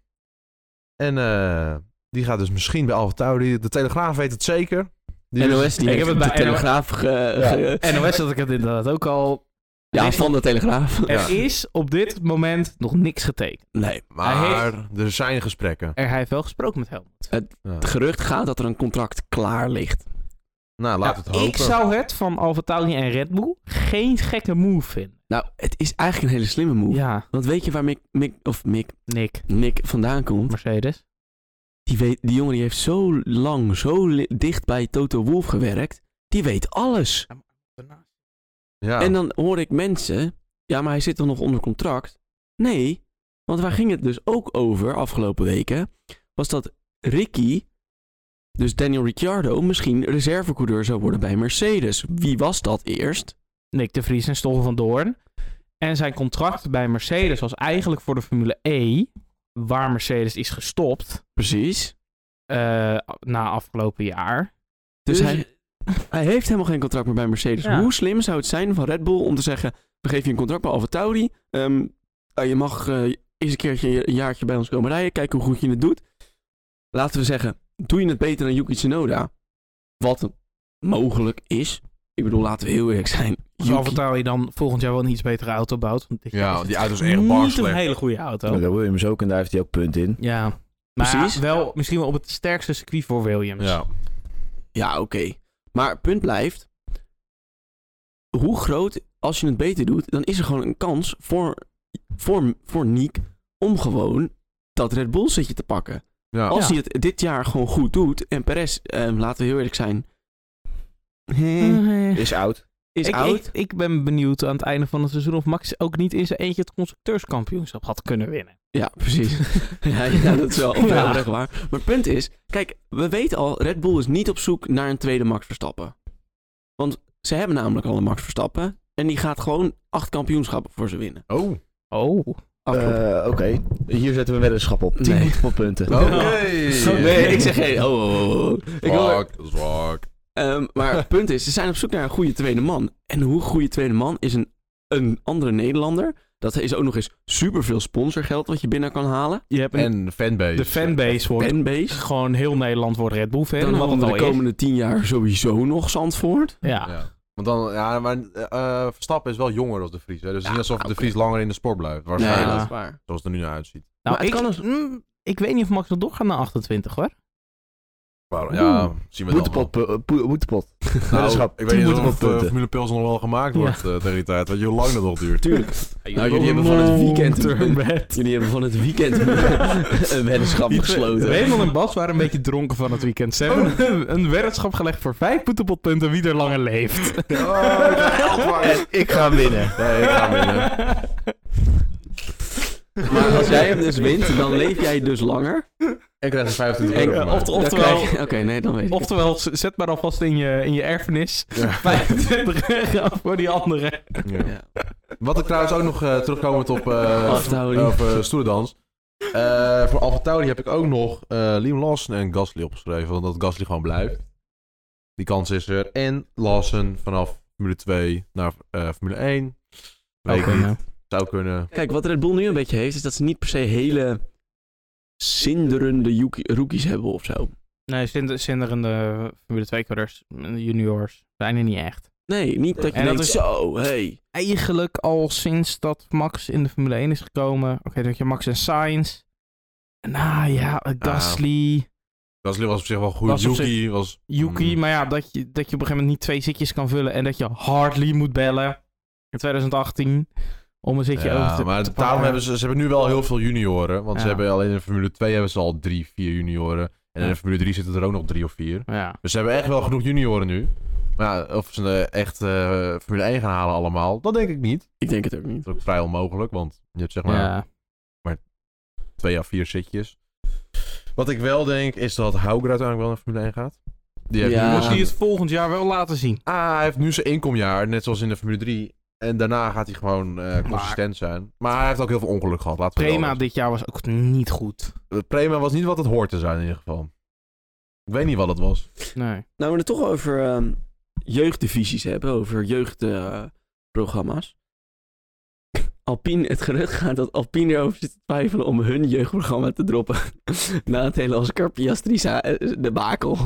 S2: En eh, die gaat dus misschien bij Alfa Tauri. De Telegraaf weet het zeker. Die
S1: NOS, die
S4: Ik
S1: heeft
S4: heb
S1: op
S4: het
S1: de
S4: bij NOS
S1: Telegraaf ge- ge-
S4: NOS had ik het inderdaad ook al.
S1: Ja, van de Telegraaf.
S4: Er
S2: Ja.
S4: is op dit moment nog niks getekend.
S1: Nee.
S2: Maar er zijn gesprekken.
S4: Er, hij heeft wel gesproken met Helmut.
S2: Ja.
S1: Het gerucht gaat dat er een contract klaar ligt.
S2: Nou, laat het
S4: Ja,
S2: hopen.
S4: Ik zou het van Alfa Tauri en Red Bull geen gekke move vinden.
S1: Nou, het is eigenlijk een hele slimme move.
S4: Ja,
S1: Want weet je waar Mick, Mick, of Mick,
S4: Nick,
S1: Nick vandaan komt?
S4: Mercedes.
S1: Die, weet, die jongen die heeft zo lang, zo li- dicht bij Toto Wolff gewerkt. Die weet alles.
S2: Ja.
S1: En dan hoor ik mensen, ja, maar hij zit toch nog onder contract? Nee, want waar ging het dus ook over afgelopen weken? Was dat Ricky, dus Daniel Ricciardo, misschien reservecoureur zou worden bij Mercedes. Wie was dat eerst?
S4: Nick de Vries en Stoffel van Doorn. En zijn contract bij Mercedes was eigenlijk voor de Formule E, waar Mercedes is gestopt
S1: Precies.
S4: eh, na afgelopen jaar.
S1: Dus,
S4: Dus-
S1: hij, hij heeft helemaal geen contract meer bij Mercedes.
S4: Ja.
S1: Hoe slim zou het zijn van Red Bull om te zeggen: we geven je een contract bij Alfa Tauri. ehm, nou, je mag eh, eens een keertje een jaartje bij ons komen rijden. Kijken hoe goed je het doet. Laten we zeggen: doe je het beter dan Yuki Tsunoda? Wat mogelijk is. Ik bedoel, laten we heel eerlijk zijn.
S4: Als Alfa
S1: Yuki,
S4: Tauri dan volgend jaar wel een iets betere auto bouwt. Want dit jaar
S2: ja,
S4: is
S2: die
S4: het
S2: auto is echt bar
S4: Niet een
S2: slecht.
S4: hele goede auto.
S3: Daar Williams ook en daar heeft hij ook punt in.
S4: Ja. Maar
S1: Precies.
S4: wel misschien wel op het sterkste circuit voor Williams.
S2: Ja.
S1: ja, oké. Maar het punt blijft: hoe groot, als je het beter doet, dan is er gewoon een kans voor, voor, voor Nick om gewoon dat Red Bull zitje te pakken.
S2: Ja.
S1: Als
S4: Ja.
S1: hij het dit jaar gewoon goed doet en Perez, ehm, laten we heel eerlijk zijn,
S4: Eh,
S3: Is oud.
S1: is
S4: ik,
S1: oud.
S4: Ik, ik ben benieuwd aan het einde van het seizoen of Max ook niet in zijn eentje het constructeurskampioenschap had kunnen winnen.
S1: Ja, precies. ja, ja, dat is wel
S4: Ja.
S1: wel erg waar. Maar het punt is, kijk, we weten al, Red Bull is niet op zoek naar een tweede Max Verstappen. Want ze hebben namelijk al een Max Verstappen en die gaat gewoon acht kampioenschappen voor ze winnen.
S2: Oh. Oké.
S4: Oh.
S1: Afgelopen-
S3: Eh, Oké, hier zetten we een weddenschap op. 10
S1: Nee.
S3: nee. punten.
S1: Oh. Nee, ik zeg geen. Oh, oh, oh, oh. Ik wil er-
S2: Zwak, zwak.
S1: Ehm, maar het punt is, ze zijn op zoek naar een goede tweede man. En hoe goede tweede man is een, een andere Nederlander. Dat is ook nog eens superveel sponsorgeld wat je binnen kan halen.
S4: Je hebt een-
S2: En fanbase.
S4: de fanbase wordt
S1: Fanbase.
S4: gewoon heel Nederland wordt Red Bull fan.
S1: Dan
S4: wat
S1: hadden
S4: het
S1: we
S4: al
S1: de
S4: is.
S1: komende tien jaar sowieso nog Zandvoort.
S4: Ja. Nou,
S2: Ja. Want dan, ja, maar eh, Verstappen is wel jonger dan de Vries. Hè? Dus het is
S1: Ja,
S2: niet alsof de
S1: oké.
S2: Vries langer in de sport blijft.
S1: Nee,
S2: Waarschijnlijk.
S1: dat is waar.
S2: Zoals het er nu naar uitziet.
S4: Nou,
S1: Maar het
S4: ik,
S1: kan dus-
S4: mm, ik weet niet of Max nog doorgaat naar 28 hoor.
S2: Maar ja,
S3: Oeh.
S2: zien we dan wel.
S3: Boetepot. eh, poe- Boetepot.
S2: Nou,
S3: Weddenschap.
S2: ik
S3: Tien
S2: weet niet of
S3: boetepotpunten.
S2: de Formule Pils nog wel gemaakt
S4: Ja.
S2: wordt eh, tegen die tijd. Weet je hoe lang dat nog duurt?
S1: Tuurlijk. Nou, jullie hebben van het weekend een, jullie hebben van het weekend een weddenschap gesloten.
S4: Raymond en Bas waren een beetje dronken van het weekend. Ze hebben een- een weddenschap gelegd voor vijf boetepotpunten wie er langer leeft.
S3: En ik ga winnen.
S2: Nee, ik ga winnen.
S1: Maar als jij hem dus wint, dan leef jij dus langer.
S2: En krijg je 25
S1: En-
S2: euro. van mij.
S4: Ofte-
S1: Dan
S4: oftewel,
S1: krijg je- Oké, nee, dan weet ik. het.
S4: oftewel, z- zet maar alvast in je, in je erfenis 25 euro voor die anderen.
S2: Ja.
S1: Ja.
S2: Wat ik trouwens ook nog eh, terugkomend op, eh
S1: Alfa Tauri.
S2: op eh, stoelendans. Eh, voor Alfa Tauri heb ik ook nog eh Liam Lawson en Gasly opgeschreven. Omdat Gasly gewoon blijft. Die kans is er. En Lawson vanaf Formule 2 naar eh, Formule 1. Weet ik niet. Zou kunnen.
S1: Kijk, wat Red Bull nu een beetje heeft, is dat ze niet per se hele zinderende yuki- rookies hebben of zo.
S4: Nee, zinder- zinderende Formule 2 coureurs, juniors, zijn er niet echt.
S1: Nee, niet dat je
S4: En dat
S1: denkt,
S4: is-
S1: zo, hey.
S4: Eigenlijk al sinds dat Max in de Formule 1 is gekomen. Oké, dat je Max en Sainz. Nou ja, Gasly.
S2: Gasly was op zich wel goed.
S4: Was op
S2: Yuki was...
S4: Yuki,
S2: Mm.
S4: maar ja, dat je, dat je op een gegeven moment niet twee zitjes kan vullen en dat je Hartley moet bellen in 2018 om een zitje
S2: Ja,
S4: over te
S2: maar
S4: te
S2: daarom
S4: pakken.
S2: hebben ze, ze hebben nu wel heel veel junioren. Want ze
S4: Ja.
S2: hebben alleen in Formule 2 hebben ze al drie, vier junioren. En
S4: Ja.
S2: in Formule 3 zitten er ook nog drie of vier.
S4: Ja,
S2: Dus ze hebben echt wel genoeg junioren nu. Maar ja, of ze eh, echt eh, Formule 1 gaan halen allemaal, dat denk ik niet.
S1: Ik denk het ook niet.
S2: Dat is ook vrij onmogelijk, want je hebt zeg maar
S4: ja.
S2: twee à vier zitjes. Wat ik wel denk, is dat Hauger uiteindelijk wel naar Formule 1 gaat. Die heeft
S1: Ja.
S2: nu
S4: Wil
S2: dus
S4: je
S2: die-
S4: het volgend jaar wel laten zien?
S2: ah, hij heeft nu zijn inkomjaar, net zoals in de Formule 3. En daarna gaat hij gewoon eh, consistent zijn. Maar hij heeft ook heel veel ongeluk gehad. Laten we wel
S4: Prema dit jaar was ook niet goed.
S2: Prema was niet wat het hoort te zijn in ieder geval. Ik weet niet wat het was.
S4: Nee.
S1: Nou, we het toch over ehm, jeugddivisies hebben, over jeugdprogramma's. Alpine, het gerucht gaat dat Alpine erover zit te twijfelen om hun jeugdprogramma te droppen. Na het hele Oscar Piastrisa eh, debakel.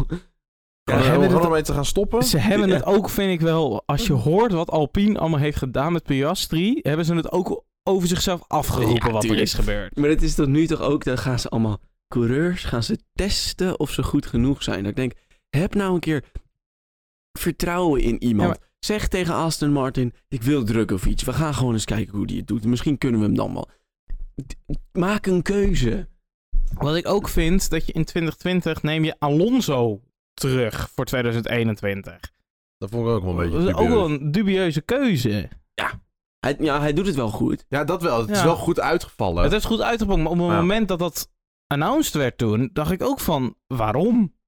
S2: Ja,
S4: hebben
S2: om
S4: dit-
S2: gewoon mee te gaan stoppen?
S4: Ze hebben
S1: Ja.
S4: het ook, vind ik wel, als je hoort wat Alpine allemaal heeft gedaan met Piastri, hebben ze het ook over zichzelf afgeroepen
S1: Ja,
S4: wat er
S1: tuurlijk.
S4: is gebeurd.
S1: Maar het is tot nu toch ook, dan gaan ze allemaal coureurs, gaan ze testen of ze goed genoeg zijn. Dat ik denk, heb nou een keer vertrouwen in iemand.
S4: Ja,
S1: Zeg tegen Aston Martin, ik wil Drukovic. We gaan gewoon eens kijken hoe die het doet. Misschien kunnen we hem dan wel. D- Maak een keuze.
S4: Wat ik ook vind, dat je in 2020 neem je Alonso terug voor 2021.
S2: Dat vond ik ook wel een beetje
S4: dat is ook
S2: dubieus.
S4: wel een dubieuze keuze.
S1: Hij, ja, hij doet het wel goed.
S2: Ja, dat wel. Het is
S4: Ja.
S2: wel goed uitgevallen. Nou,
S4: Het is goed uitgepakt, maar op het
S2: Ja.
S4: moment dat dat announced werd toen, dacht ik ook van, waarom?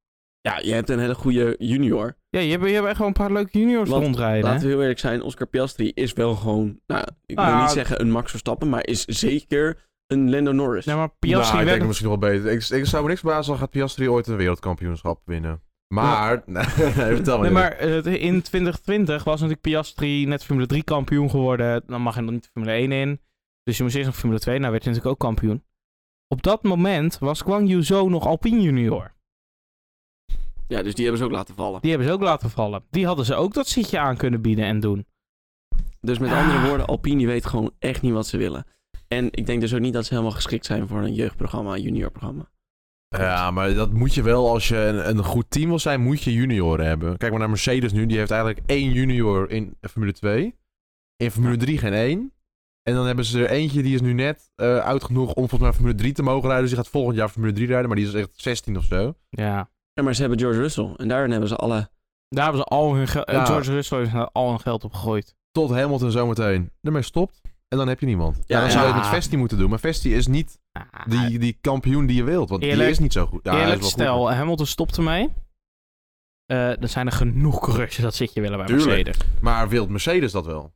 S1: Ja, je hebt een hele goede junior.
S4: Ja, je hebt, je hebt echt wel een paar leuke juniors
S1: Want,
S4: rondrijden.
S1: Laten we heel eerlijk zijn, Oscar Piastri is wel gewoon... Nou, ik wil
S4: Ah.
S1: niet zeggen een Max Verstappen, maar is zeker een Lando Norris.
S4: Nee, maar
S2: Nou,
S4: Piastri
S2: ik denk
S4: werd...
S2: het misschien nog wel beter. Ik, ik zou me niks verbazen, dan gaat Piastri ooit een wereldkampioenschap winnen. Maar, nee, vertel me
S4: Nee,
S2: niet.
S4: maar eh, in 2020 was natuurlijk Piastri net Formule 3 kampioen geworden. Dan mag hij nog niet de Formule 1 in. Dus je moest eerst nog Formule 2, nou werd hij natuurlijk ook kampioen. Op dat moment was Kwang Yuzo nog Alpine junior.
S1: Ja, dus die hebben ze ook laten vallen.
S4: Die hebben ze ook laten vallen. Die hadden ze ook dat zitje aan kunnen bieden en doen.
S1: Dus met andere
S4: Ah.
S1: woorden, Alpine die weet gewoon echt niet wat ze willen. En ik denk dus ook niet dat ze helemaal geschikt zijn voor een jeugdprogramma, een juniorprogramma.
S2: Ja, maar dat moet je wel, als je een, een goed team wil zijn, moet je junioren hebben. Kijk maar naar Mercedes nu, die heeft eigenlijk één junior in Formule 2. In Formule 3 geen één. En dan hebben ze er eentje, die is nu net eh oud genoeg om volgens mij Formule 3 te mogen rijden. Dus die gaat volgend jaar Formule 3 rijden, maar die is echt 16 of zo.
S4: Ja.
S1: Ja, maar ze hebben George Russell en daarin hebben ze alle...
S4: Daar hebben ze al hun geld...
S2: Ja.
S4: George Russell heeft daar al hun geld op gegooid.
S2: Tot Hamilton zometeen ermee stopt. En dan heb je niemand. Ja,
S1: Ja,
S2: dan
S1: ja.
S2: zou je het met Vesti moeten doen. Maar Vesti is niet
S4: Ah,
S2: die, die kampioen die je wilt. Want die
S4: Eerlijk-
S2: is niet zo goed. Ja, hij is
S4: Eerlijk,
S2: wel goed,
S4: stel, Hamilton stopt ermee. Eh er zijn er genoeg coureurs die dat zitje willen bij
S2: Tuurlijk.
S4: Mercedes.
S2: Maar wilt Mercedes dat wel?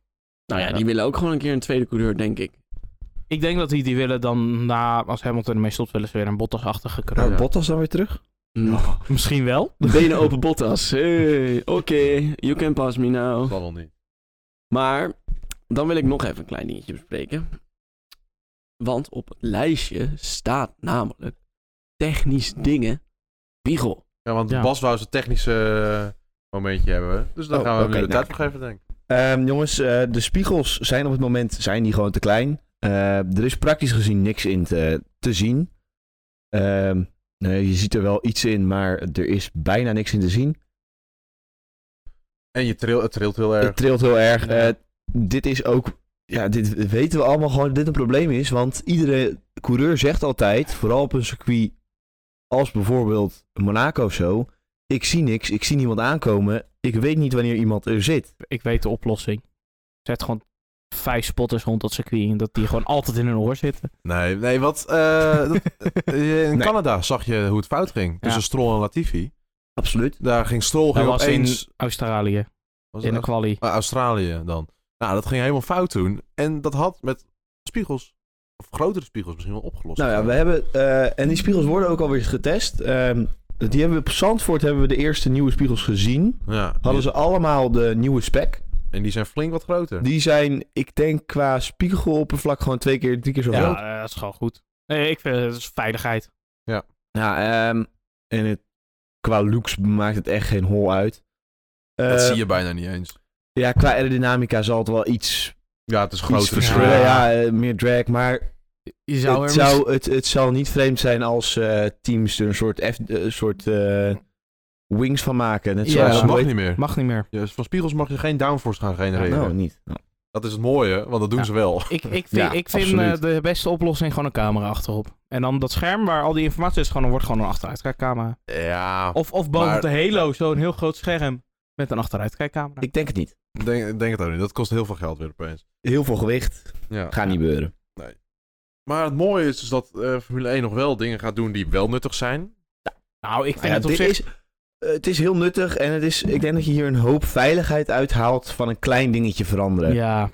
S1: Nou ja, die willen ook gewoon een keer een tweede coureur, denk ik.
S4: Ik denk dat die die willen dan, na, als Hamilton ermee stopt, willen ze weer een Bottas-achtige coureur.
S3: Nou, Bottas dan weer terug?
S1: Nou,
S4: Misschien wel.
S1: Benen open Bottas. Hey, oké, you can pass me now.
S2: zal wel niet.
S1: Maar dan wil ik nog even een klein dingetje bespreken. Want op het lijstje staat namelijk technisch dingen. Wiegel.
S2: Ja, want
S4: Ja.
S2: Bas wou zijn technische eh, momentje hebben. Dus daar
S3: Oh,
S2: gaan we hem
S3: oké,
S2: nu de
S3: nou.
S2: tijd voor geven, denk ik.
S3: Ehm, jongens, eh, de spiegels zijn op het moment zijn die gewoon te klein. Eh, er is praktisch gezien niks in te, te zien. Ehm, nee, je ziet er wel iets in, maar er is bijna niks in te zien.
S2: En je trilt, het trilt heel erg.
S3: Het trilt heel erg.
S2: Eh, Ja.
S3: Eh, dit is ook. Ja, dit weten we allemaal gewoon dat dit een probleem is. Want iedere coureur zegt altijd, vooral op een circuit als bijvoorbeeld Monaco of zo. Ik zie niks, ik zie niemand aankomen. Ik weet niet wanneer iemand er zit.
S4: Ik weet de oplossing. Zet gewoon vijf spotters rond dat circuit in, dat die gewoon altijd in hun oor zitten.
S2: Nee, nee, wat... eh, dat- eh, in
S3: Nee.
S2: Canada zag je hoe het fout ging. Tussen Stroll en Latifi.
S3: Absoluut.
S2: Daar ging Stroll
S4: Dat
S2: ging
S4: was in
S2: opeens...
S4: Australië,
S2: was
S4: in de
S2: het
S4: quali.
S2: Maar Eh, Australië dan. Nou, dat ging helemaal fout toen. En dat had met spiegels, of grotere spiegels misschien wel opgelost.
S3: Nou ja, we hebben. eh, en die spiegels worden ook alweer getest. Ehm, die hebben we op Zandvoort hebben we de eerste nieuwe spiegels gezien.
S2: Ja,
S3: Hadden
S2: die-
S3: ze allemaal de nieuwe spec.
S2: En die zijn flink wat groter.
S3: Die zijn, ik denk, qua spiegeloppervlak gewoon twee keer, drie keer zo groot.
S4: Ja, eh, dat is gewoon goed. Nee, ik vind het is veiligheid.
S3: Ja, ehm, en het, qua looks maakt het echt geen hol uit.
S2: dat
S3: Eh,
S2: zie je bijna niet eens.
S3: Ja, qua aerodynamica zal het wel iets,
S2: Ja, het is
S3: iets
S2: grotere
S4: verschillen,
S3: verschillen.
S2: spiegels.
S4: ja.
S3: Ja, eh, meer drag. Maar
S4: Je zou
S3: het,
S4: er mis-
S3: zou, het, het zal niet vreemd zijn als eh, teams er een soort, F, eh, soort eh, wings van maken. Net
S4: Ja,
S2: Ja,
S3: zoals
S2: dat
S3: hoe
S2: mag
S3: heet-
S2: niet meer.
S4: Mag niet meer.
S2: Ja, dus van spiegels mag je geen downforce gaan genereren.
S3: Nou, niet.
S2: Dat is het mooie, want dat doen
S4: Ja.
S2: ze wel.
S4: Ik, ik vind,
S3: Ja,
S4: ik vind
S3: absoluut.
S4: eh, de beste oplossing gewoon een camera achterop. En dan dat scherm waar al die informatie is, gewoon, dan wordt gewoon een achteruitkijkcamera.
S2: Ja,
S4: Of, of boven
S2: Maar-
S4: de Halo, zo'n heel groot scherm met een achteruitkijkcamera.
S3: Ik denk het niet.
S2: ik denk, ik denk het ook niet. Dat kost heel veel geld weer opeens.
S3: Heel veel gewicht.
S2: Ja.
S3: Gaat niet gebeuren.
S2: Maar het mooie is dus dat eh, Formule 1 nog wel dingen gaat doen die wel nuttig zijn.
S4: Nou, ik vind
S3: Ja,
S4: het op
S3: dit
S4: zich...
S3: is, eh, het is heel nuttig en het is, ik denk dat je hier een hoop veiligheid uithaalt van een klein dingetje veranderen.
S4: Ja,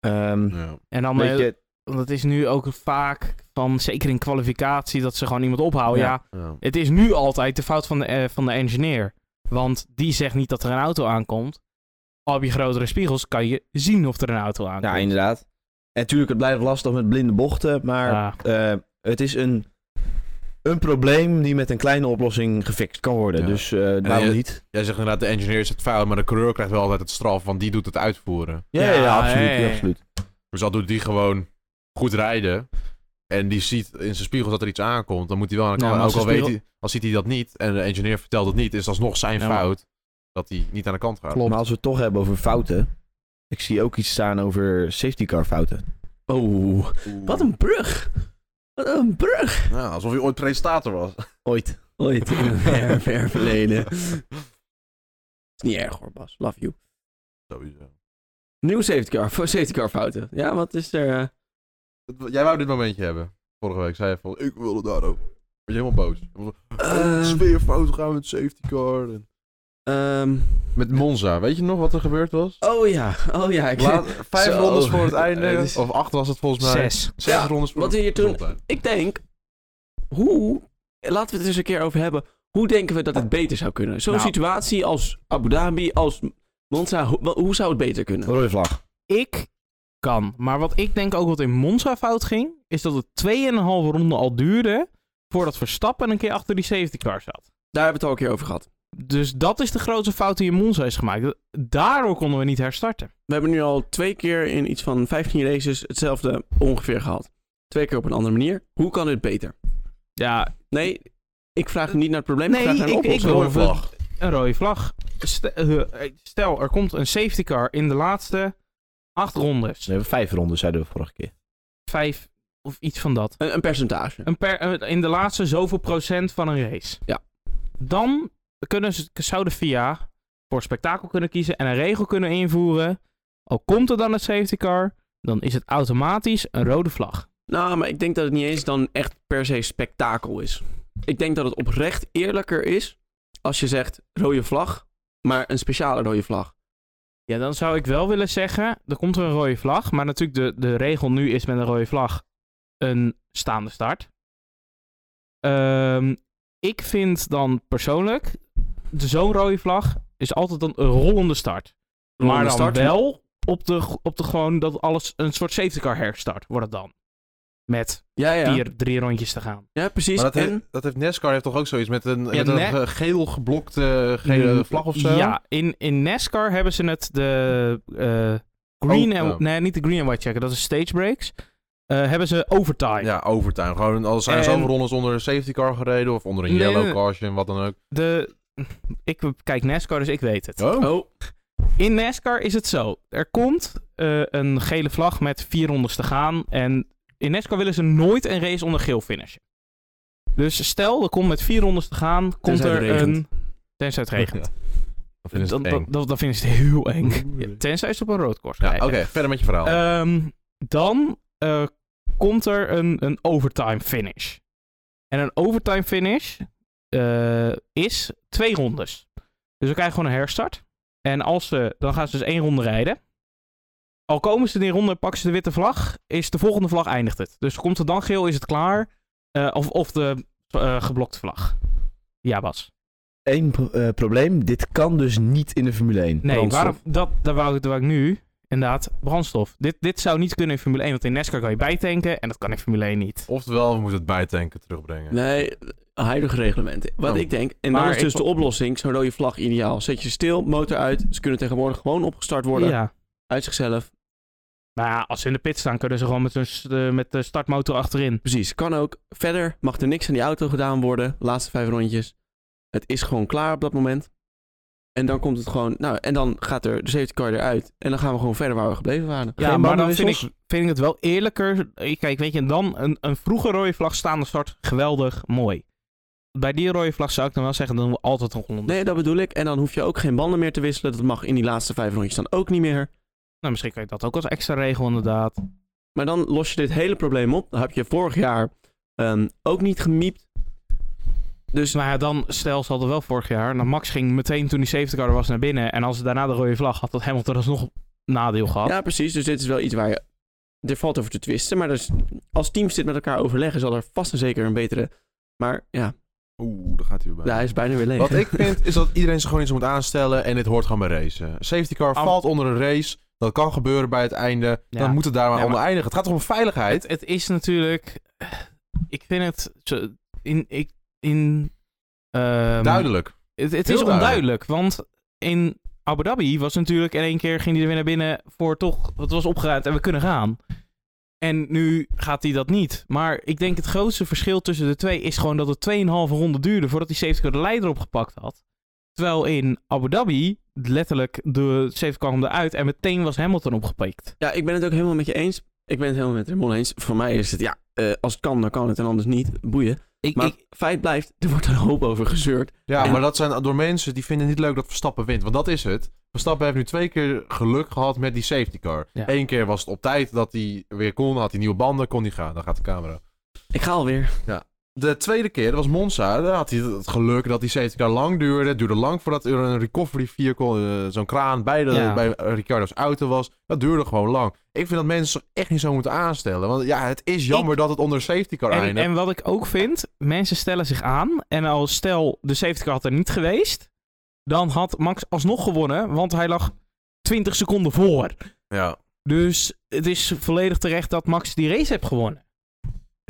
S3: Ehm,
S2: Ja.
S4: en dan...
S3: weet
S4: eh,
S3: je,
S4: Want het is nu ook vaak van, zeker in kwalificatie, dat ze gewoon iemand ophouden. Ja,
S3: Ja.
S2: Ja.
S4: het is nu altijd de fout van de, eh, van de engineer. Want die zegt niet dat er een auto aankomt. Al heb je grotere spiegels, kan je zien of er een auto aankomt.
S3: Ja, inderdaad. En natuurlijk, het blijft lastig met blinde bochten, maar
S4: Ja.
S3: eh, het is een, een probleem die met een kleine oplossing gefixt kan worden.
S2: Ja.
S3: Dus eh waarom
S2: je-
S3: niet?
S2: Jij zegt inderdaad, de engineer is het fout, maar de coureur krijgt wel altijd het straf, want die doet het uitvoeren.
S3: Ja, ja,
S4: Ja,
S3: absoluut,
S4: ja, ja.
S3: absoluut.
S2: Dus al doet die gewoon goed rijden. En die ziet in zijn spiegel dat er iets aankomt. Dan moet hij wel aan de
S4: Ja,
S2: kant.
S4: maar als
S2: ook al
S4: de spiegel-
S2: weet hij, als ziet hij dat niet en de engineer vertelt het niet, is dat alsnog zijn
S4: Ja, maar-
S2: fout dat hij niet aan de kant gaat.
S4: Klopt.
S3: Maar als we het toch hebben over fouten. Ik zie ook iets staan over safety car fouten.
S1: Oh, wat een brug. Wat een brug.
S2: Nou, alsof hij ooit presentator was.
S3: Ooit.
S1: Ooit in een ver, ver verleden. Is niet erg hoor, Bas. Love you.
S2: Sowieso.
S1: Nieuw safety car, voor safety car fouten. Ja, wat is er? eh?
S2: Dat- Jij wou dit momentje hebben. Vorige week zei je van, ik wil het daarop. Was je helemaal boos.
S4: Ehm.
S1: Eh.
S2: Sfeerfout gaan met safety car. en-
S1: Ehm,
S2: Met Monza, weet je nog wat er gebeurd was?
S1: oh ja, oh ja. Ik,
S2: Laat- vijf
S1: Zo.
S2: rondes voor het einde.
S1: Eh, dus-
S2: Of acht was het volgens mij.
S4: Zes.
S2: Zes
S1: Ja,
S2: rondes voor
S1: wat hier toen-
S2: Gezondheid.
S1: ik denk, hoe, laten we het eens een keer over hebben. Hoe denken we dat het beter zou kunnen? Zo'n
S4: Nou.
S1: situatie als Abu Dhabi, als Monza, ho- wel, hoe zou het beter kunnen?
S3: Rode vlag.
S4: Ik kan. Maar wat ik denk ook wat in Monza fout ging, is dat het 2,5 ronden al duurde voordat Verstappen een keer achter die safety car zat.
S1: Daar hebben we het al een keer over gehad.
S4: Dus dat is de grootste fout die in Monza is gemaakt. Daardoor konden we niet herstarten.
S1: We hebben nu al twee keer in iets van 15 races hetzelfde ongeveer gehad. Twee keer op een andere manier. Hoe kan dit beter?
S4: Ja,
S1: Nee, ik vraag niet naar het probleem,
S4: Nee,
S1: ik vraag naar een
S4: ik- ik
S1: oplossing.
S4: wil-
S2: Rode vlag.
S4: een rode vlag. Stel, eh, stel, er komt een safety car in de laatste acht rondes.
S3: Dus We hebben vijf ronden, zeiden we vorige keer.
S4: Vijf of iets van dat.
S1: Een, een percentage.
S4: Een per, eh, in de laatste zoveel procent van een race.
S1: Ja.
S4: Dan kunnen ze, zou de FIA voor spektakel kunnen kiezen en een regel kunnen invoeren. Al komt er dan een safety car, dan is het automatisch een rode vlag.
S1: Nou, maar ik denk dat het niet eens dan echt per se spektakel is. Ik denk dat het oprecht eerlijker is als je zegt rode vlag, maar een speciale rode vlag.
S4: Ja, dan zou ik wel willen zeggen, er komt er een rode vlag. Maar natuurlijk, de, de regel nu is met een rode vlag een staande start. Ehm, Ik vind dan persoonlijk, de zo'n rode vlag is altijd een rollende start. maar dan wel op de, op de gewoon dat alles een soort safety car herstart wordt het dan. Met
S1: Ja, ja.
S4: vier, drie rondjes te gaan.
S1: Ja, precies.
S2: Maar dat,
S1: en,
S2: heeft, dat heeft NASCAR heeft toch ook zoiets met een, met
S4: net-
S2: een eh, geel geblokte gele vlag of zo?
S4: Mm, Ja, in, in NASCAR hebben ze het de eh, green
S2: Oh,
S4: en...
S2: ja.
S4: Nee, niet de green and white checken, dat is stage breaks. Eh, hebben ze overtime.
S2: Ja, overtime. Gewoon, al zijn er
S4: En-
S2: zoveel rondes onder een safety car gereden of onder een
S4: Nee,
S2: yellow
S4: nee.
S2: caution, wat dan ook.
S4: De, ik kijk NASCAR, dus ik weet het.
S2: Oh,
S1: oh,
S4: In NASCAR is het zo. Er komt eh, een gele vlag met vier rondes te gaan. En in NASCAR willen ze nooit een race onder geel finishen. Dus stel, er komt met vier rondes te gaan, komt
S1: Tenzij het
S4: er
S1: regent.
S4: een... Tenzij het regent.
S2: Ja. Dan vinden ze
S4: Dan,
S2: het
S4: dan,
S2: eng.
S4: dan, dan vinden ze het heel eng.
S2: Oeh.
S4: Ja, tenzij ze op een rood course
S2: Ja, oké,
S4: rijden.
S2: verder met je verhaal.
S4: Ehm, dan eh, komt er een, een overtime finish. En een overtime finish eh, is twee rondes. Dus we krijgen gewoon een herstart. En als ze, dan gaan ze dus één ronde rijden. Al komen ze in die ronde, pakken ze de witte vlag, is de volgende vlag eindigt het. Dus komt er dan geel, is het klaar. Eh, of, of de eh, geblokte vlag. Ja, Bas.
S3: Eén pro- eh, probleem, dit kan dus niet in de Formule 1.
S4: Nee,
S1: Brandstof.
S4: waarom, dat, daar, wou, ik- daar wou ik nu. Inderdaad, brandstof. Dit, dit zou niet kunnen in Formule 1, want in NASCAR kan je bijtanken en dat kan in Formule 1 niet.
S2: Oftewel, we moeten het bijtanken terugbrengen.
S1: nee, huidige reglementen. Wat
S2: Oh.
S1: ik denk, en
S4: Maar
S1: dat is
S4: ik
S1: dus de
S4: vond-
S1: oplossing, zo'n rode vlag ideaal. Zet je stil, motor uit. Ze kunnen tegenwoordig gewoon opgestart worden,
S4: Ja.
S1: uit zichzelf.
S4: Maar ja, als ze in de pit staan, kunnen ze gewoon met, hun, s- eh, met de startmotor achterin.
S1: Precies, kan ook. Verder mag er niks aan die auto gedaan worden, laatste vijf rondjes. Het is gewoon klaar op dat moment. En dan komt het gewoon, nou, en dan gaat er de safety car eruit. En dan gaan we gewoon verder waar we gebleven waren.
S4: Ja, maar dan vind
S3: bandenwissels?
S4: ik, vind ik het wel eerlijker. Eh, Kijk, weet je, dan een, een vroege rode vlag staande start, geweldig, mooi. Bij die rode vlag zou ik dan wel zeggen, dan doen we altijd een ronde.
S1: Nee, dat bedoel ik. En dan hoef je ook geen banden meer te wisselen. Dat mag in die laatste vijf rondjes dan ook niet meer.
S4: Nou, misschien kan je dat ook als extra regel inderdaad.
S1: Maar dan los je dit hele probleem op. Dan heb je vorig jaar ehm, ook niet gemiept. Dus
S4: Maar nou ja, dan, stel, ze hadden wel vorig jaar. Nou, Max ging meteen toen die safety car er was naar binnen. En als ze daarna de rode vlag had, had Hamilton alsnog een nadeel gehad.
S1: ja, precies. Dus dit is wel iets waar je... Er valt over te twisten. Maar dus, als teams dit met elkaar overleggen, zal er vast en zeker een betere... Maar ja,
S2: Oeh, daar gaat hij weer bij.
S1: ja, hij is bijna weer leeg.
S2: Wat ik vind, is dat iedereen zich gewoon iets moet aanstellen en dit hoort gewoon bij racen. Safety car
S4: Ah.
S2: valt onder een race, dat kan gebeuren bij het einde.
S4: Ja.
S2: Dan moet het daar maar
S4: Ja,
S2: onder
S4: maar-
S2: eindigen. Het gaat toch om veiligheid?
S4: Het, het is natuurlijk... eh, Ik vind het... zo- In, ik, in, ehm,
S2: Duidelijk.
S4: Het, het
S2: Heel
S4: is
S2: duidelijk.
S4: onduidelijk, want in Abu Dhabi was natuurlijk in één keer ging hij er weer naar binnen voor toch, het was opgeruimd en we kunnen gaan. En nu gaat hij dat niet. Maar ik denk het grootste verschil tussen de twee is gewoon dat het 2,5 ronde duurde voordat die safety car de leider opgepakt had. Terwijl in Abu Dhabi letterlijk de safety car kwam eruit en meteen was Hamilton opgepikt.
S1: Ja, ik ben het ook helemaal met je eens. Ik ben het helemaal met Raymond eens. Voor mij is het, ja, eh, als het kan, dan kan het. En anders niet. Boeien.
S4: Ik,
S1: Maar
S4: ik,
S1: feit blijft, er wordt een hoop over gezeurd.
S2: Ja,
S1: En-
S2: maar dat zijn door mensen die vinden niet leuk dat Verstappen wint. Want dat is het. Verstappen heeft nu twee keer geluk gehad met die safety car.
S4: Ja.
S2: Eén keer was het op tijd dat hij weer kon. Had hij nieuwe banden, kon hij gaan. Dan gaat de camera.
S1: Ik ga alweer.
S2: De tweede keer, dat was Monza. Daar had hij het geluk dat die safety car lang duurde. Het duurde lang voordat er een recovery vehicle, eh, zo'n kraan bij, de,
S4: Ja.
S2: bij Ricardo's auto was. Dat duurde gewoon lang. Ik vind dat mensen zich echt niet zo moeten aanstellen. Want ja, het is jammer dat het onder safety car
S4: en,
S2: eindigt.
S4: en wat ik ook vind, mensen stellen zich aan. En als stel de safety car had er niet geweest, dan had Max alsnog gewonnen, want hij lag 20 seconden voor.
S2: Ja.
S4: Dus het is volledig terecht dat Max die race heeft gewonnen.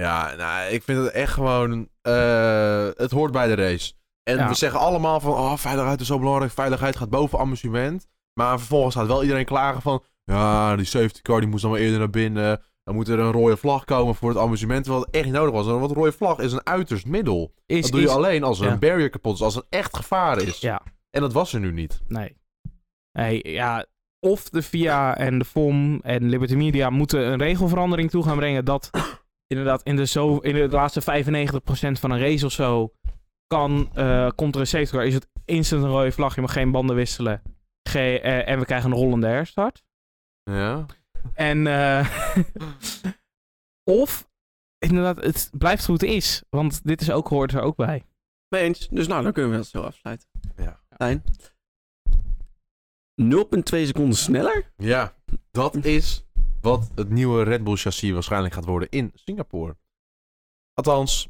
S2: Ja, nou, ik vind het echt gewoon. eh, het hoort bij de race. En
S4: Ja.
S2: we zeggen allemaal van. Oh, veiligheid is zo belangrijk. Veiligheid gaat boven amusement. Maar vervolgens gaat wel iedereen klagen van. Ja, die safety car die moest dan wel eerder naar binnen. Dan moet er een rode vlag komen voor het amusement. Terwijl het echt niet nodig was. Want een rode vlag is een uiterst middel.
S4: Is,
S2: Dat doe je
S4: is-
S2: alleen als er
S4: ja.
S2: een barrier kapot is. Als er echt gevaar is.
S4: Ja,
S2: En dat was er nu niet.
S4: nee. Nee, ja. Of de VIA en de FOM en Liberty Media moeten een regelverandering toe gaan brengen dat inderdaad in de, zo, in de laatste 95% van een race of zo kan, eh, komt er een safety car, is het instant een rode vlag, je mag geen banden wisselen. Ge eh, en we krijgen een rollende herstart.
S2: Ja.
S4: En eh, of inderdaad, het blijft hoe het is, want dit is ook, hoort er ook bij.
S1: Mee eens. Dus nou, dan kunnen we dat zo afsluiten.
S2: Ja.
S1: Fijn. 0,2 seconden sneller?
S2: Ja, dat is wat het nieuwe Red Bull chassis waarschijnlijk gaat worden in Singapore. Althans,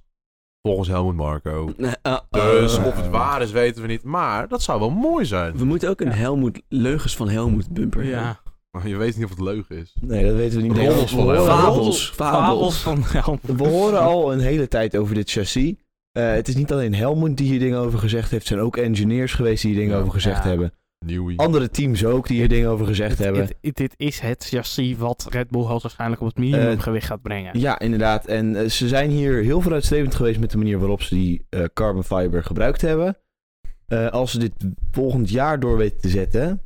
S2: Volgens Helmut Marco.
S1: Nee, eh,
S2: Dus
S1: eh,
S2: of het waar is, weten we niet. Maar dat zou wel mooi zijn.
S1: we moeten ook een
S4: Ja.
S1: Helmoet, leugens van Helmoet bumper hebben.
S4: Ja.
S2: Maar je weet niet of het leugen is.
S3: Nee, dat weten we niet
S2: Roddels
S3: meer.
S2: van
S3: We horen-
S1: Fabels.
S4: Fabels
S1: Fabels.
S4: van Helm.
S3: We horen al een hele tijd over dit chassis. Eh, het is niet alleen Helmond die hier dingen over gezegd heeft. Er zijn ook engineers geweest die hier dingen
S2: Ja.
S3: over gezegd
S4: Ja.
S3: hebben.
S2: Nieuwie.
S3: Andere teams ook die hier dingen over gezegd
S4: Het-
S3: hebben.
S4: het- het- dit is het chassis wat Red Bull hoogstwaarschijnlijk op het minimumgewicht gaat brengen.
S3: Ja, inderdaad. En eh, ze zijn hier heel vooruitstrevend geweest met de manier waarop ze die eh, carbon fiber gebruikt hebben. Eh, als ze dit volgend jaar door weten te zetten.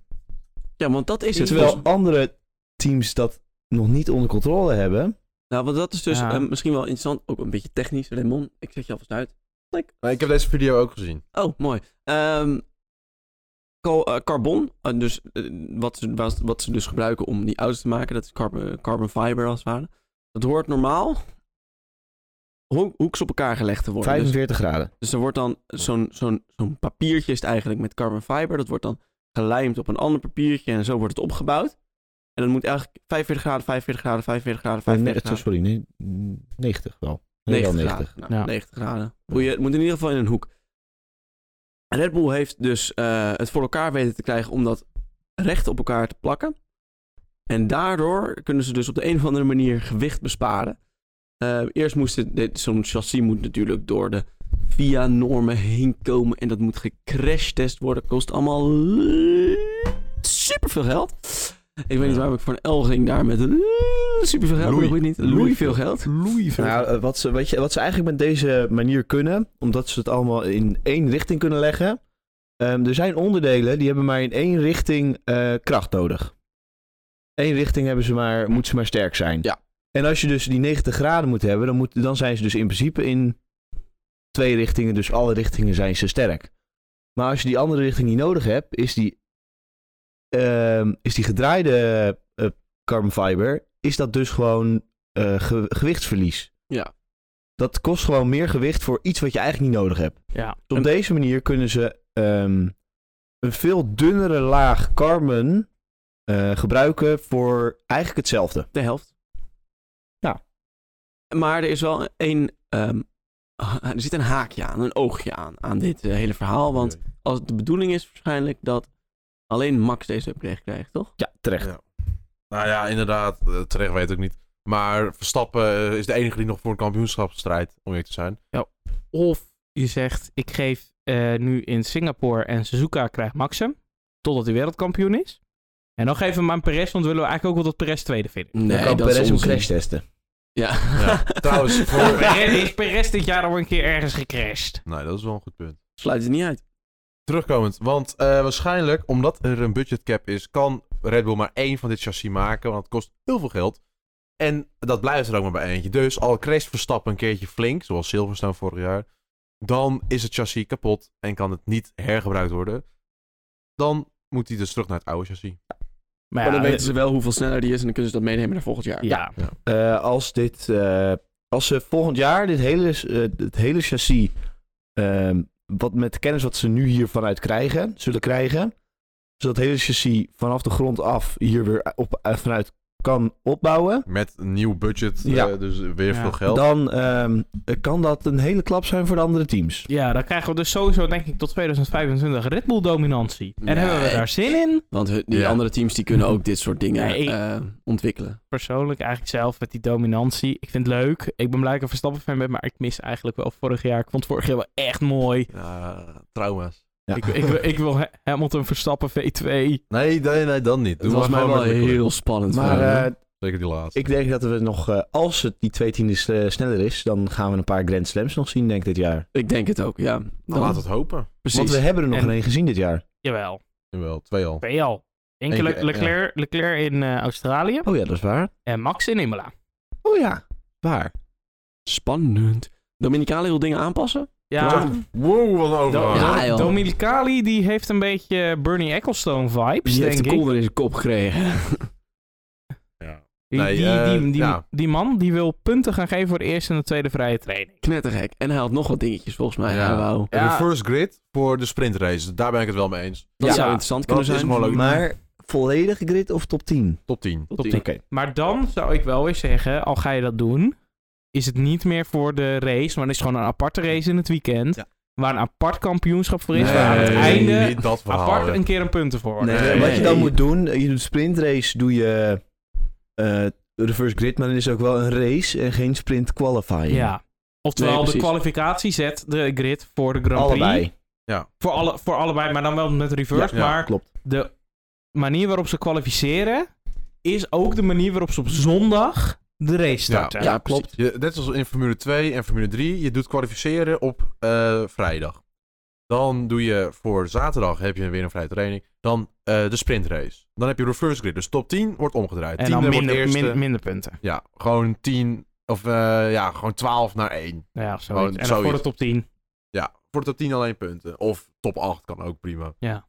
S1: Ja, want dat is het.
S3: Terwijl
S1: Dus-
S3: andere teams dat nog niet onder controle hebben.
S1: nou, want dat is dus
S4: Ja.
S1: eh, misschien wel interessant. Ook een beetje technisch. Raymond, ik zet je alvast uit. Klik.
S2: Nee, ik heb deze video ook gezien.
S1: Oh, mooi. Ehm, ko- eh, carbon, eh, dus eh, wat, ze, wat, wat ze dus gebruiken om die auto's te maken, dat is carbon, carbon fiber als het ware. Dat hoort normaal ho- hoeks op elkaar gelegd te worden. Dus,
S3: 45 graden.
S1: dus er wordt dan zo'n zo'n zo'n papiertje is het eigenlijk met carbon fiber. Dat wordt dan gelijmd op een ander papiertje en zo wordt het opgebouwd. En dan moet eigenlijk 45 graden, 45 graden, 45 graden,
S3: Nee,
S1: 45 graden.
S3: sorry, nee, 90 wel. Nee,
S1: 90
S3: wel 90.
S1: graden. Nou,
S4: Ja.
S1: 90 graden. Moet je, het moet in ieder geval in een hoek. Red Bull heeft dus eh, het voor elkaar weten te krijgen om dat recht op elkaar te plakken. En daardoor kunnen ze dus op de een of andere manier gewicht besparen. Eh, eerst moest het- dit- zo'n chassis moet natuurlijk door de VIA-normen heen komen. En dat moet gecrashtest worden. Kost allemaal superveel geld. Ik weet niet waarom ik voor een L ging daar met superveel geld. maar
S2: Loei.
S1: dat weet niet. Loei veel geld.
S2: Louis
S3: Nou, eh, wat ze, wat, je, wat ze eigenlijk met deze manier kunnen, omdat ze het allemaal in één richting kunnen leggen. ehm, er zijn onderdelen die hebben maar in één richting eh, kracht nodig. Eén richting hebben ze maar, moeten ze maar sterk zijn.
S1: Ja.
S3: En als je dus die 90 graden moet hebben, dan, moet, dan zijn ze dus in principe in twee richtingen, dus alle richtingen zijn ze sterk. Maar als je die andere richting niet nodig hebt, is die, ehm, is die gedraaide eh, carbon fiber, is dat dus gewoon eh, ge- gewichtsverlies.
S1: Ja.
S3: Dat kost gewoon meer gewicht voor iets wat je eigenlijk niet nodig hebt.
S4: Ja.
S3: Dus op deze manier kunnen ze ehm, een veel dunnere laag carbon eh, gebruiken voor eigenlijk hetzelfde.
S1: De helft.
S3: Ja.
S1: Maar er is wel een. ehm, ha- er zit een haakje aan, een oogje aan, aan dit eh, hele verhaal. Want als het de bedoeling is waarschijnlijk dat alleen Max deze upgrade krijgt, toch?
S3: Ja, terecht.
S2: Nou ja, inderdaad. eh, Terecht weet ik niet. Maar Verstappen eh, is de enige die nog voor een kampioenschap strijdt, om eerlijk te zijn.
S4: Of je zegt, ik geef eh, nu in Singapore en Suzuka krijgt Max hem, totdat hij wereldkampioen is. En dan geven we hem aan Perez, want willen we eigenlijk ook wel dat Perez tweede vinden.
S1: Nee,
S3: Dan kan Perez hem
S1: onzin.
S3: crash testen.
S1: Ja.
S2: Ja, trouwens, voor-
S4: Perez is Perez dit jaar al een keer ergens gecrashed.
S2: Nee, dat is wel een goed punt.
S1: Sluit het niet uit.
S2: Terugkomend, want eh, waarschijnlijk, omdat er een budgetcap is, kan Red Bull maar één van dit chassis maken, want het kost heel veel geld. En dat blijft er ook maar bij eentje. Dus al crasht Verstappen een keertje flink, zoals Silverstone vorig jaar, dan is het chassis kapot en kan het niet hergebruikt worden. Dan moet hij dus terug naar het oude chassis.
S4: Maar
S1: maar
S4: ja,
S1: Oh, dan weten ze wel hoeveel sneller die is en dan kunnen ze dat meenemen naar volgend jaar.
S4: ja.
S3: Eh, als, dit, eh, als ze volgend jaar dit hele, eh, het hele chassis, ehm, wat met de kennis wat ze nu hier vanuit krijgen, zullen krijgen, zodat het hele chassis vanaf de grond af hier weer op, eh, vanuit kan opbouwen,
S2: Met een nieuw budget, eh,
S3: Ja.
S2: dus weer
S4: Ja.
S2: veel geld.
S3: dan ehm, kan dat een hele klap zijn voor de andere teams.
S4: ja, dan krijgen we dus sowieso, denk ik, tot 2025 Red Bull dominantie. En
S1: Nee.
S4: hebben we daar zin in?
S1: Want hun- die
S2: Ja.
S1: andere teams die kunnen ook dit soort dingen
S4: Nee, ik-
S1: eh, ontwikkelen.
S4: Persoonlijk eigenlijk zelf met die dominantie. Ik vind het leuk. Ik ben blij dat ik een Verstappen fan ben, maar ik mis eigenlijk wel vorig jaar. Ik vond vorig jaar wel echt mooi.
S2: Ja, trauma's.
S3: Ja.
S4: Ik, ik, wil- ik wil Ha- Hamilton Verstappen V2.
S2: Nee, nee, nee, dan niet.
S1: Het
S2: Doe
S1: was
S2: maar
S1: mij
S2: gewoon
S1: wel
S2: makkelijk.
S1: heel spannend.
S3: maar
S1: voor hem.
S3: eh,
S2: Zeker die laatste.
S3: ik denk dat we nog, eh, als het die twee tiendes eh, sneller is, dan gaan we een paar Grand Slams nog zien, denk ik, dit jaar.
S1: ik denk het ook, ja.
S2: Nou, laten we het hopen.
S1: Precies.
S3: Want we hebben er nog
S4: En-
S3: geen gezien dit jaar.
S4: Jawel.
S2: Jawel, twee al.
S4: Twee al. Eén keer
S2: Eén
S4: Le-
S2: keer,
S4: Leclerc, Leclerc in eh, Australië
S3: Oh ja, dat is waar.
S4: en Max in Imola.
S3: Oh ja, waar.
S1: Spannend. Dominicale wil dingen aanpassen?
S4: Ja,
S2: Wow, wow, wat een
S4: Do-
S2: overgang.
S1: Ja,
S4: Do-
S1: joh.
S4: Dominicali die heeft een beetje Bernie Ecclestone vibes,
S1: Die
S4: denk
S1: heeft
S4: ik.
S1: de kolder in zijn kop gekregen.
S2: Ja.
S4: Die,
S2: Nee,
S4: die,
S2: eh,
S4: die, die,
S2: ja.
S4: die man die wil punten gaan geven voor de eerste en de tweede vrije training.
S1: Knettergek. En hij had nog wat dingetjes volgens mij.
S2: Ja.
S1: Ja. wou.
S2: Een
S4: Ja.
S2: Reverse grid voor de sprintrace. Daar ben ik het wel mee eens.
S1: Dat
S4: Ja.
S1: zou interessant
S2: Dat
S1: kunnen
S2: is
S1: zijn.
S2: gewoon leuk.
S3: Maar volledig grid of top 10?
S2: Top 10.
S1: Tot
S4: Top
S1: die-
S3: Oké.
S4: Maar dan zou ik wel weer zeggen, al ga je dat doen, is het niet meer voor de race, maar het is gewoon een aparte race in het weekend.
S3: Ja.
S4: Waar een apart kampioenschap voor is.
S2: Nee,
S4: waar aan het
S2: nee,
S4: einde
S2: niet dat verhaal.
S4: apart
S2: hè.
S4: een keer een punten voor worden.
S3: Nee,
S2: Nee.
S3: Wat je dan moet doen, eh, je doet sprintrace, doe je eh, reverse grid, maar dan is het ook wel een race en geen sprint qualifying.
S4: Ja. Oftewel,
S1: Nee,
S4: de
S1: precies.
S4: kwalificatie zet de grid voor de Grand Prix.
S3: Allebei,
S4: Voor, alle, voor allebei, maar dan wel met reverse.
S2: Ja, ja,
S4: maar
S3: klopt.
S4: de manier waarop ze kwalificeren is ook de manier waarop ze op zondag de race starten.
S1: Ja, klopt.
S2: Je, net zoals in Formule 2 en Formule 3, je doet kwalificeren op eh, vrijdag. Dan doe je voor zaterdag heb je weer een vrije training. Dan eh, de sprintrace. Dan heb je reverse grid. Dus top 10 wordt omgedraaid.
S4: En
S2: Tiende
S4: dan
S2: wordt
S4: minder,
S2: eerste.
S4: min- minder punten.
S2: Ja, gewoon 10 of eh, ja, gewoon 12 naar 1.
S4: Ja, of zoiets.
S2: Gewoon
S4: en dan voor
S2: zoiets.
S4: de top 10.
S2: Ja, voor top 10 alleen punten. Of top 8 kan ook prima.
S4: Ja.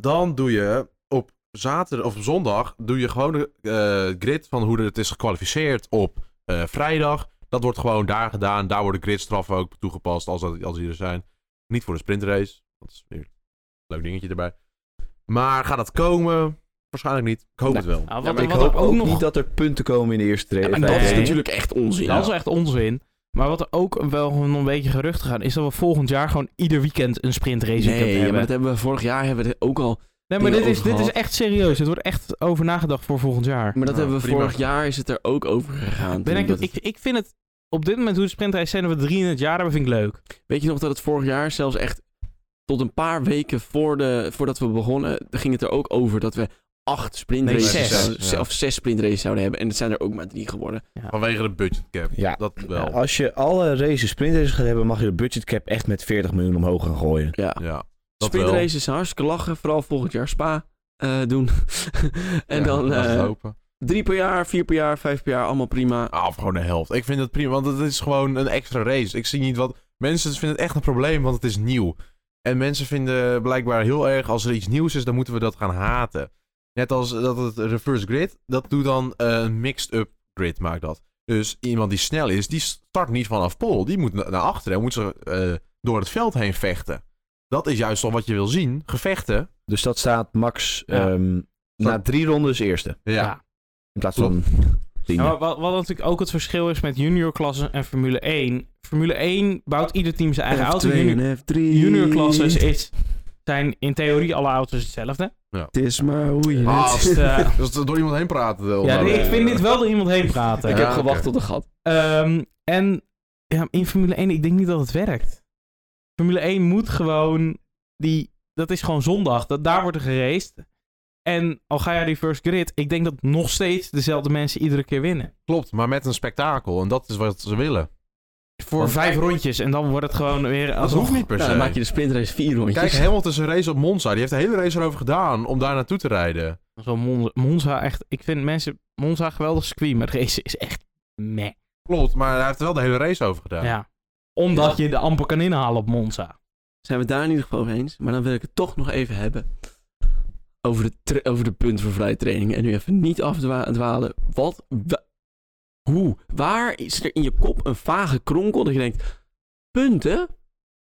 S2: Dan doe je op zaterdag of op zondag doe je gewoon de eh, grid van hoe het is gekwalificeerd op eh, vrijdag. Dat wordt gewoon daar gedaan. Daar worden gridstraffen ook toegepast als, dat, als die er zijn. Niet voor de sprintrace. Dat is weer een leuk dingetje erbij. Maar gaat dat komen? Waarschijnlijk niet. Ik hoop
S1: Nee. Ah.
S2: het wel.
S4: Nou,
S1: Ja,
S4: wat,
S1: maar
S3: Ik
S4: wat
S3: hoop
S4: er
S3: ook,
S4: ook nog...
S3: niet dat er punten komen in de eerste race.
S1: En dat is
S4: Nee.
S1: natuurlijk echt onzin.
S4: Dat is echt onzin. Maar wat er ook wel een beetje geruchten gaan, is dat we volgend jaar gewoon ieder weekend een sprintrace
S1: Nee,
S4: kunnen
S1: ja,
S4: hebben.
S1: maar dat Oh, hebben we vorig jaar hebben we dit ook al.
S4: nee, maar dit
S1: dingen
S4: is, dit is
S1: overgehad.
S4: echt serieus. Het wordt echt over nagedacht voor volgend jaar.
S1: Maar dat
S2: Nou,
S1: hebben we
S2: prima.
S1: vorig jaar is het er ook over gegaan.
S4: Ben
S1: Toen
S4: ik,
S1: dat het-
S4: ik, ik vind het op dit moment hoe de sprintrace zijn, dat we drie in het jaar hebben, vind ik leuk.
S1: Weet je nog dat het vorig jaar zelfs echt tot een paar weken voor de, voordat we begonnen, ging het er ook over dat we acht sprintraces
S4: Nee, zes.
S1: zouden-
S2: Ja.
S1: of zes sprintraces zouden hebben. En het zijn er ook maar drie geworden.
S2: Vanwege de budgetcap.
S3: Ja.
S2: Dat wel. Ja.
S3: Als je alle races sprintraces gaat hebben, mag je de budgetcap echt met 40 miljoen omhoog gaan gooien.
S1: Ja.
S2: dat wel.
S1: Sprintraces zijn hartstikke lachen, vooral volgend jaar Spa eh, doen. en
S2: Ja,
S1: dan
S2: laat het
S1: eh,
S2: lopen.
S1: drie per jaar, vier per jaar, vijf per jaar, allemaal prima.
S2: Ah, of gewoon de helft. Ik vind het prima, want het is gewoon een extra race. Ik zie niet wat... Mensen vinden het echt een probleem, want het is nieuw. En mensen vinden blijkbaar heel erg, als er iets nieuws is, dan moeten we dat gaan haten. Net als dat het reverse grid, dat doet dan eh, een mixed-up grid, maakt dat. Dus iemand die snel is, die start niet vanaf pol. Die moet na- naar achteren en moet ze eh, door het veld heen vechten. Dat is juist toch wat je wil zien, gevechten.
S3: Dus dat staat max
S4: Ja.
S3: ehm, na drie rondes eerste.
S4: Ja.
S3: In plaats van tien.
S4: Ja, maar wat, wat natuurlijk ook het verschil is met juniorklassen en Formule 1. Formule 1 bouwt ieder team zijn eigen auto.
S1: F2
S4: Junior,
S1: en F3.
S4: juniorklassen is- zijn in theorie alle auto's hetzelfde.
S1: Het is maar hoe je
S2: Ah,
S1: het...
S2: als-
S4: Dus, eh,
S2: Dus dat door iemand heen praten. eh,
S4: ja,
S2: onder-
S4: ik vind dit wel door iemand heen praten.
S1: nou, Ik
S2: Ja,
S1: heb
S2: oké.
S1: gewacht tot de gat.
S4: Ehm, en ja, in Formule 1, ik denk niet dat het werkt. Formule 1 moet gewoon. Die, dat is gewoon zondag. Dat, daar wordt er geraced. En al ga je reverse grid, ik denk dat nog steeds dezelfde mensen iedere keer winnen.
S2: Klopt, maar met een spektakel. En dat is wat ze willen.
S4: Voor
S2: Want-
S4: vijf rondjes en dan wordt het gewoon weer.
S2: Dat
S4: Alsof...
S2: hoeft niet per se.
S1: Nou, dan maak je de sprintrace vier rondjes.
S2: Kijk, Hamilton is een race op Monza. Die heeft de hele race erover gedaan om daar naartoe te rijden.
S4: Zo Monza, Monza echt. Ik vind mensen. Monza een geweldig circuit, maar race is echt meh.
S2: Klopt, maar hij heeft er wel de hele race over gedaan.
S4: Ja. Omdat je de amper kan inhalen op Monza.
S1: zijn we het daar in ieder geval over eens. Maar dan wil ik het toch nog even hebben. Over de, tra- over de punt voor vrije training. En nu even niet afdwalen. Wat? wa- hoe? Waar is er in je kop een vage kronkel dat je denkt... Punten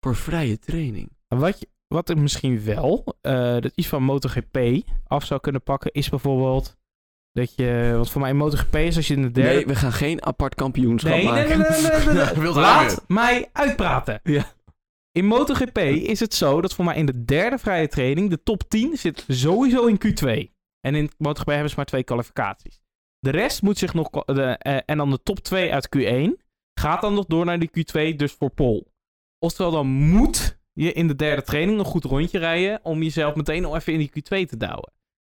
S1: voor vrije training.
S4: Wat, je- wat er misschien wel, eh, dat iets van MotoGP af zou kunnen pakken, is bijvoorbeeld dat je, wat voor mij in MotoGP is, als je in de derde...
S1: Nee, we gaan geen apart kampioenschap maken.
S2: Je wilt
S4: Laat
S2: rijden.
S4: mij uitpraten.
S1: Ja.
S4: In MotoGP is het zo dat voor mij in de derde vrije training, de top 10 zit sowieso in Q2. En in MotoGP hebben ze maar twee kwalificaties. De rest moet zich nog, kwa- de, eh, en dan de top 2 uit Q1, gaat dan nog door naar de Q2, dus voor pole. Oftewel, dan moet je in de derde training een goed rondje rijden om jezelf meteen nog even in die Q2 te douwen.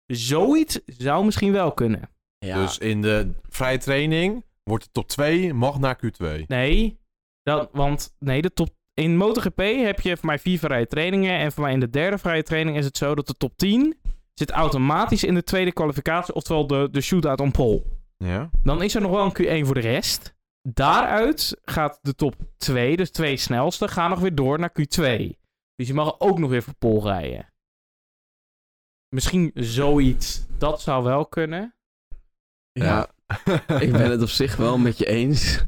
S4: Zoiets zou misschien wel kunnen.
S1: Ja.
S2: Dus in de vrije training wordt de top 2, mag naar Q2.
S4: Nee, dat, want nee, de top, in MotoGP heb je voor mij vier vrije trainingen. En voor mij in de derde vrije training is het zo dat de top 10 zit automatisch in de tweede kwalificatie. Oftewel de, de shootout on pole.
S2: Ja.
S4: Dan is er nog wel een Q1 voor de rest. Daaruit gaat de top 2, dus twee snelste, gaan nog weer door naar Q2. Dus je mag ook nog weer voor pole rijden. Misschien zoiets. Dat zou wel kunnen.
S1: ja, ik ben het op zich wel met je eens.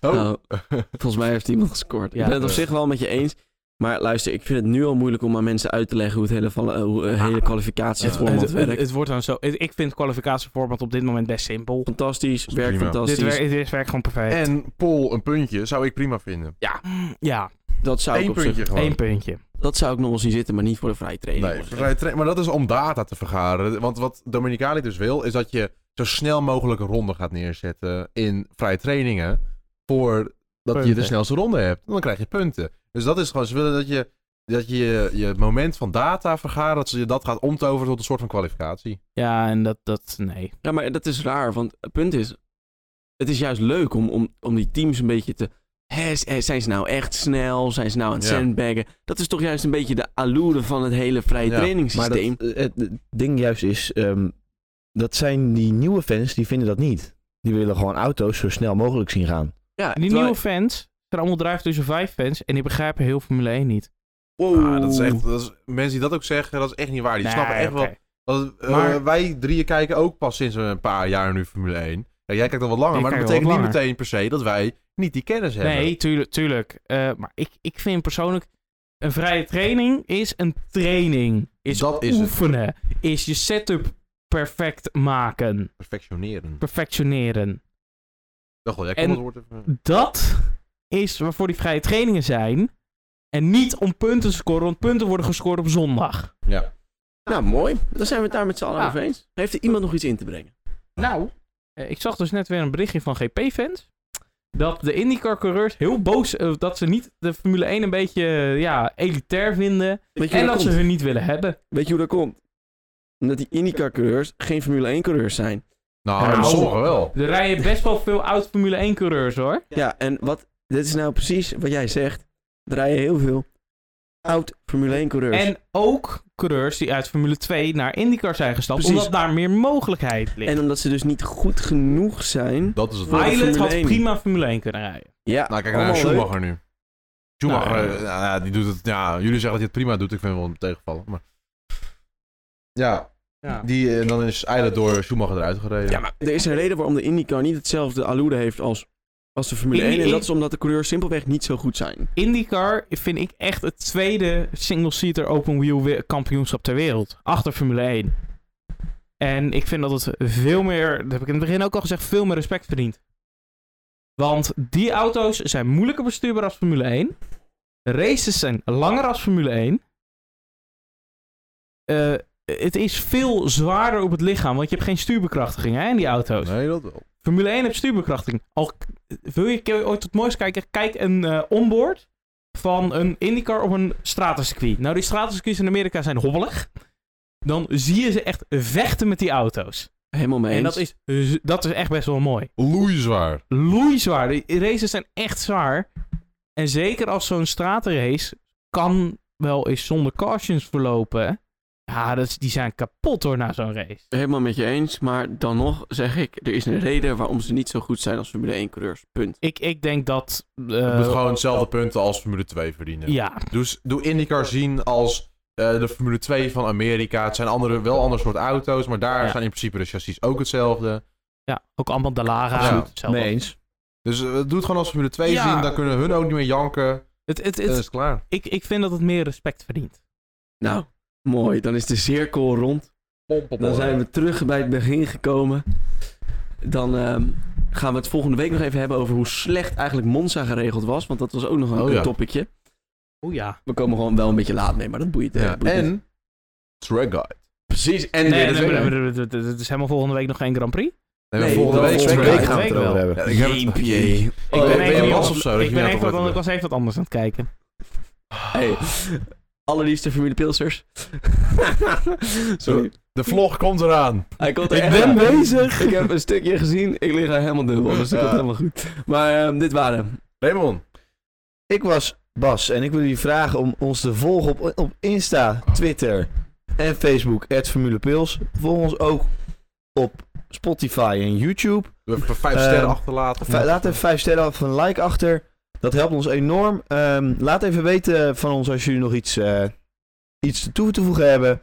S2: Oh.
S1: Nou, volgens mij heeft iemand gescoord.
S4: Ja.
S1: ik ben het op zich wel met je eens. Maar luister, ik vind het nu al moeilijk om aan mensen uit te leggen hoe het hele, val- eh, hoe, eh,
S4: Ah.
S1: hele kwalificatieformat
S4: het,
S1: werkt.
S4: het, het wordt dan zo. Ik ik vind het kwalificatieformat op dit moment best simpel.
S1: fantastisch,
S2: is
S1: werkt
S2: prima.
S4: Dit,
S1: fantastisch.
S4: wer, dit werkt gewoon perfect.
S2: En Pol een puntje zou ik prima vinden.
S4: ja,
S1: dat, zou ik
S2: Eén
S1: op zich-
S2: puntje gewoon.
S4: één puntje.
S1: dat zou ik nog wel zien zitten, maar niet voor de vrije training.
S2: Nee,
S1: jongens.
S2: vrij tra- maar dat is om data te vergaren. Want wat Dominicali dus wil, is dat je zo snel mogelijk een ronde gaat neerzetten in vrije trainingen. Voordat je de
S4: Punten.
S2: snelste ronde hebt. Dan krijg je punten. Dus dat is gewoon, ze willen dat je dat je je moment van data vergaren, dat ze je dat gaat omtoveren tot een soort van kwalificatie.
S4: Ja, en dat, dat nee.
S1: Ja, maar dat is raar, want het punt is... Het is juist leuk om, om, om die teams een beetje te... Hè, s- hè, zijn ze nou echt snel? Zijn ze nou aan het
S2: Ja.
S1: sandbaggen? Dat is toch juist een beetje de allure van het hele vrije
S2: Ja,
S3: Maar dat,
S1: trainingssysteem.
S3: eh, het, het ding juist is, ehm, dat zijn die nieuwe fans, die vinden dat niet. Die willen gewoon auto's zo snel mogelijk zien gaan.
S1: Ja,
S4: Die
S1: terwijl-
S4: nieuwe fans zijn allemaal Drive tussen 5 fans en die begrijpen heel Formule 1 niet.
S1: Wow.
S2: Ah, dat is echt, dat is, mensen die dat ook zeggen, dat is echt niet waar. Die
S4: Nee,
S2: snappen echt wel
S4: oké.
S2: Want, eh,
S4: Maar-
S2: wij drieën kijken ook pas sinds een paar jaar nu Formule 1. Ja, jij kijkt al wat langer,
S4: Ik
S2: maar dat
S4: kijk
S2: betekent
S4: al wat
S2: niet
S4: langer.
S2: meteen per se dat wij niet die kennis hebben.
S4: Nee, tuurlijk. tuurlijk. Eh, maar ik, ik vind persoonlijk... Een vrije training is een training. Is
S2: Dat is het.
S4: oefenen. Is je setup perfect maken.
S2: Perfectioneren.
S4: Perfectioneren.
S2: Dacht wel, jij
S4: En-
S2: kon het woord even.
S4: Dat is waarvoor die vrije trainingen zijn. En niet om punten te scoren, want punten worden gescoord op zondag.
S2: Ja.
S1: Nou, mooi. Dan zijn we het daar met z'n allen
S4: Ja.
S1: over eens. Heeft er iemand nog iets in te brengen?
S4: Nou, eh, ik zag dus net weer een berichtje van GP-fans. Dat de IndyCar-coureurs heel boos... eh, dat ze niet de Formule 1 een beetje eh, ja, elitair vinden.
S1: Weet je,
S4: En
S1: hoe dat,
S4: dat ze
S1: komt?
S4: hun niet willen hebben.
S1: Weet je hoe dat komt? Omdat die IndyCar-coureurs geen Formule 1-coureurs zijn.
S2: Nou,
S4: Nou.
S2: sommigen wel.
S4: Er rijden best wel veel oud Formule 1-coureurs hoor.
S1: Ja, en wat, dit is nou precies wat jij zegt. Er rijden heel veel oud Formule 1-coureurs.
S4: En ook coureurs die uit Formule 2 naar IndyCar zijn gestapt,
S1: Precies.
S4: omdat daar meer mogelijkheid ligt.
S1: En omdat ze dus niet goed genoeg zijn.
S2: Dat is het
S1: Maar-
S2: woord.
S4: Pilot
S1: Formule
S4: had
S1: 1.
S4: prima Formule 1 kunnen rijden.
S1: Ja,
S2: Nou, kijk naar
S1: allemaal leuk.
S2: Schumacher nu. Schumacher,
S4: Nou,
S2: eh, nou, ja, die doet het. Ja, jullie zeggen dat hij het prima doet. Ik vind hem wel tegenvallen. Maar... Ja,
S4: Ja.
S2: die, en dan is Eilet door Schumacher eruit gereden.
S1: Ja, maar er is een reden waarom de IndyCar niet hetzelfde allure heeft als, als de Formule
S4: Indy-
S1: 1. En dat is omdat de coureurs simpelweg niet zo goed zijn.
S4: IndyCar vind ik echt het tweede single-seater open wheel we- kampioenschap ter wereld. Achter Formule 1. En ik vind dat het veel meer, dat heb ik in het begin ook al gezegd, veel meer respect verdient. Want die auto's zijn moeilijker bestuurbaar als Formule 1. Races zijn langer als Formule 1. Eh, het is veel zwaarder op het lichaam, want je hebt geen stuurbekrachtiging hè, in die auto's.
S2: Nee, dat wel.
S4: Formule 1 heeft stuurbekrachtiging. Al k- wil je ke- ooit tot moois kijken, kijk een eh, onboard van een IndyCar op een stratencircuit. Nou, die stratencircuits in Amerika zijn hobbelig. Dan zie je ze echt vechten met die auto's.
S1: Helemaal mee eens.
S4: En dat is, dat is echt best wel mooi.
S2: Loeizwaar.
S4: Loeizwaar. De races zijn echt zwaar. En zeker als zo'n stratenrace kan wel eens zonder cautions verlopen. Ja, dat is- die zijn kapot hoor na zo'n race.
S1: Helemaal met je eens. Maar dan nog zeg ik, er is een reden waarom ze niet zo goed zijn als Formule 1-coureurs. Punt.
S4: Ik, ik denk dat...
S2: Je
S4: eh,
S2: moet gewoon hetzelfde punten als Formule 2 verdienen.
S4: ja,
S2: Dus doe IndyCar zien als eh, de Formule 2 van Amerika. Het zijn andere, wel ander soort auto's, maar daar
S4: Ja.
S2: zijn in principe de chassis ook hetzelfde.
S4: Ja, ook allemaal de Lara.
S2: Absoluut.
S4: hetzelfde.
S3: Mee eens.
S2: Dus eh, doe het gewoon als Formule 2
S4: Ja.
S2: zien, dan kunnen hun ook niet meer janken.
S4: Het, het,
S2: Dan is
S4: het,
S2: het klaar.
S4: ik, ik vind dat het meer respect verdient.
S1: Nou, mooi. Dan is de cirkel rond. Dan zijn we terug bij het begin gekomen. Dan ehm, gaan we het volgende week nog even hebben over hoe slecht eigenlijk Monza geregeld was. Want dat was ook nog een,
S2: Oh
S1: een
S2: ja.
S1: topicje.
S4: Oh ja.
S1: We komen gewoon wel een beetje laat mee, maar dat boeit. eh,
S2: Ja,
S1: boeit niet.
S2: En track guide.
S1: Precies. En
S4: Nee,
S1: weer
S4: nee,
S1: de
S4: nee,
S1: tweede.
S4: nee, nee, nee, nee, het is helemaal volgende week nog geen Grand Prix.
S2: Nee,
S1: Nee,
S2: volgende
S1: wel
S2: week
S1: volgende
S2: track
S1: week
S2: guide.
S3: gaan we het erover hebben.
S2: Ja, ik heb het-
S1: Jeepie.
S2: Ik ben,
S4: ben
S2: ben
S4: even
S2: je
S4: niet
S2: was
S4: op-
S2: of zo? dat
S4: ik
S2: je
S4: ben
S2: niet
S4: even,
S2: had
S4: want ik
S2: opgelet
S4: was even wat anders aan het kijken.
S1: Hey. Allerliefste familie Pilsers. Sorry.
S2: bent. De vlog komt eraan.
S1: Hij komt er
S4: Ik
S1: echt
S4: ben
S1: aan.
S4: bezig.
S1: Ik heb een stukje gezien. Ik lig er helemaal dubbel. Dus dat
S2: Ja.
S1: komt helemaal goed. Maar ehm, dit waren.
S2: Raymond.
S3: Ik was Bas en ik wil jullie vragen om ons te volgen op, op Insta, Twitter en Facebook, @formulepils. Volg ons ook op Spotify en YouTube.
S2: We hebben vijf
S3: Eh,
S2: sterren achterlaten.
S3: Vij- laat even vijf sterren of een like achter. Dat helpt ons enorm. Ehm, laat even weten van ons als jullie nog iets, eh, iets toe te voegen hebben.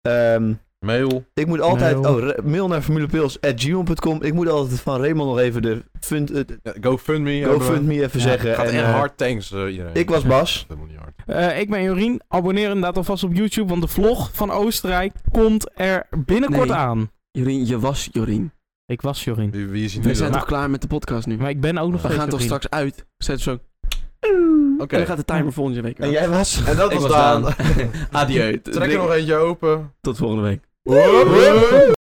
S3: Ehm,
S2: Mail.
S3: Ik moet altijd...
S4: Mail.
S3: Oh, re- mail naar formulapeels.gmail.com. Ik moet altijd van Raymond nog even de fund, eh,
S2: Ja, GoFundMe.
S3: GoFundMe even
S4: Ja,
S3: zeggen.
S2: Gaat
S3: en,
S2: en,
S3: eh,
S2: hard thanks eh, iedereen.
S3: Ik was Bas.
S2: Dat moet niet hard.
S4: Eh, ik ben Jorien. Abonneer inderdaad alvast op YouTube, want de vlog van Oostenrijk komt er binnenkort
S1: Nee.
S4: aan.
S1: Jorien, je was Jorien.
S4: Ik was Jorien.
S2: Wie, wie is hier nu
S1: We zijn
S2: dan?
S1: toch klaar met de podcast nu?
S4: Maar ik ben ook nog
S1: We
S4: steeds
S1: gaan toch
S4: Jorien.
S1: straks uit? Zet zo.
S2: Oké.
S1: En dan gaat de timer volgende week
S3: En jij was...
S2: En dat
S1: Ik
S2: was
S1: was
S2: Daan.
S1: Daan. Adieu.
S2: Trek er nog eentje open.
S1: Tot volgende week.
S2: Woep, woep.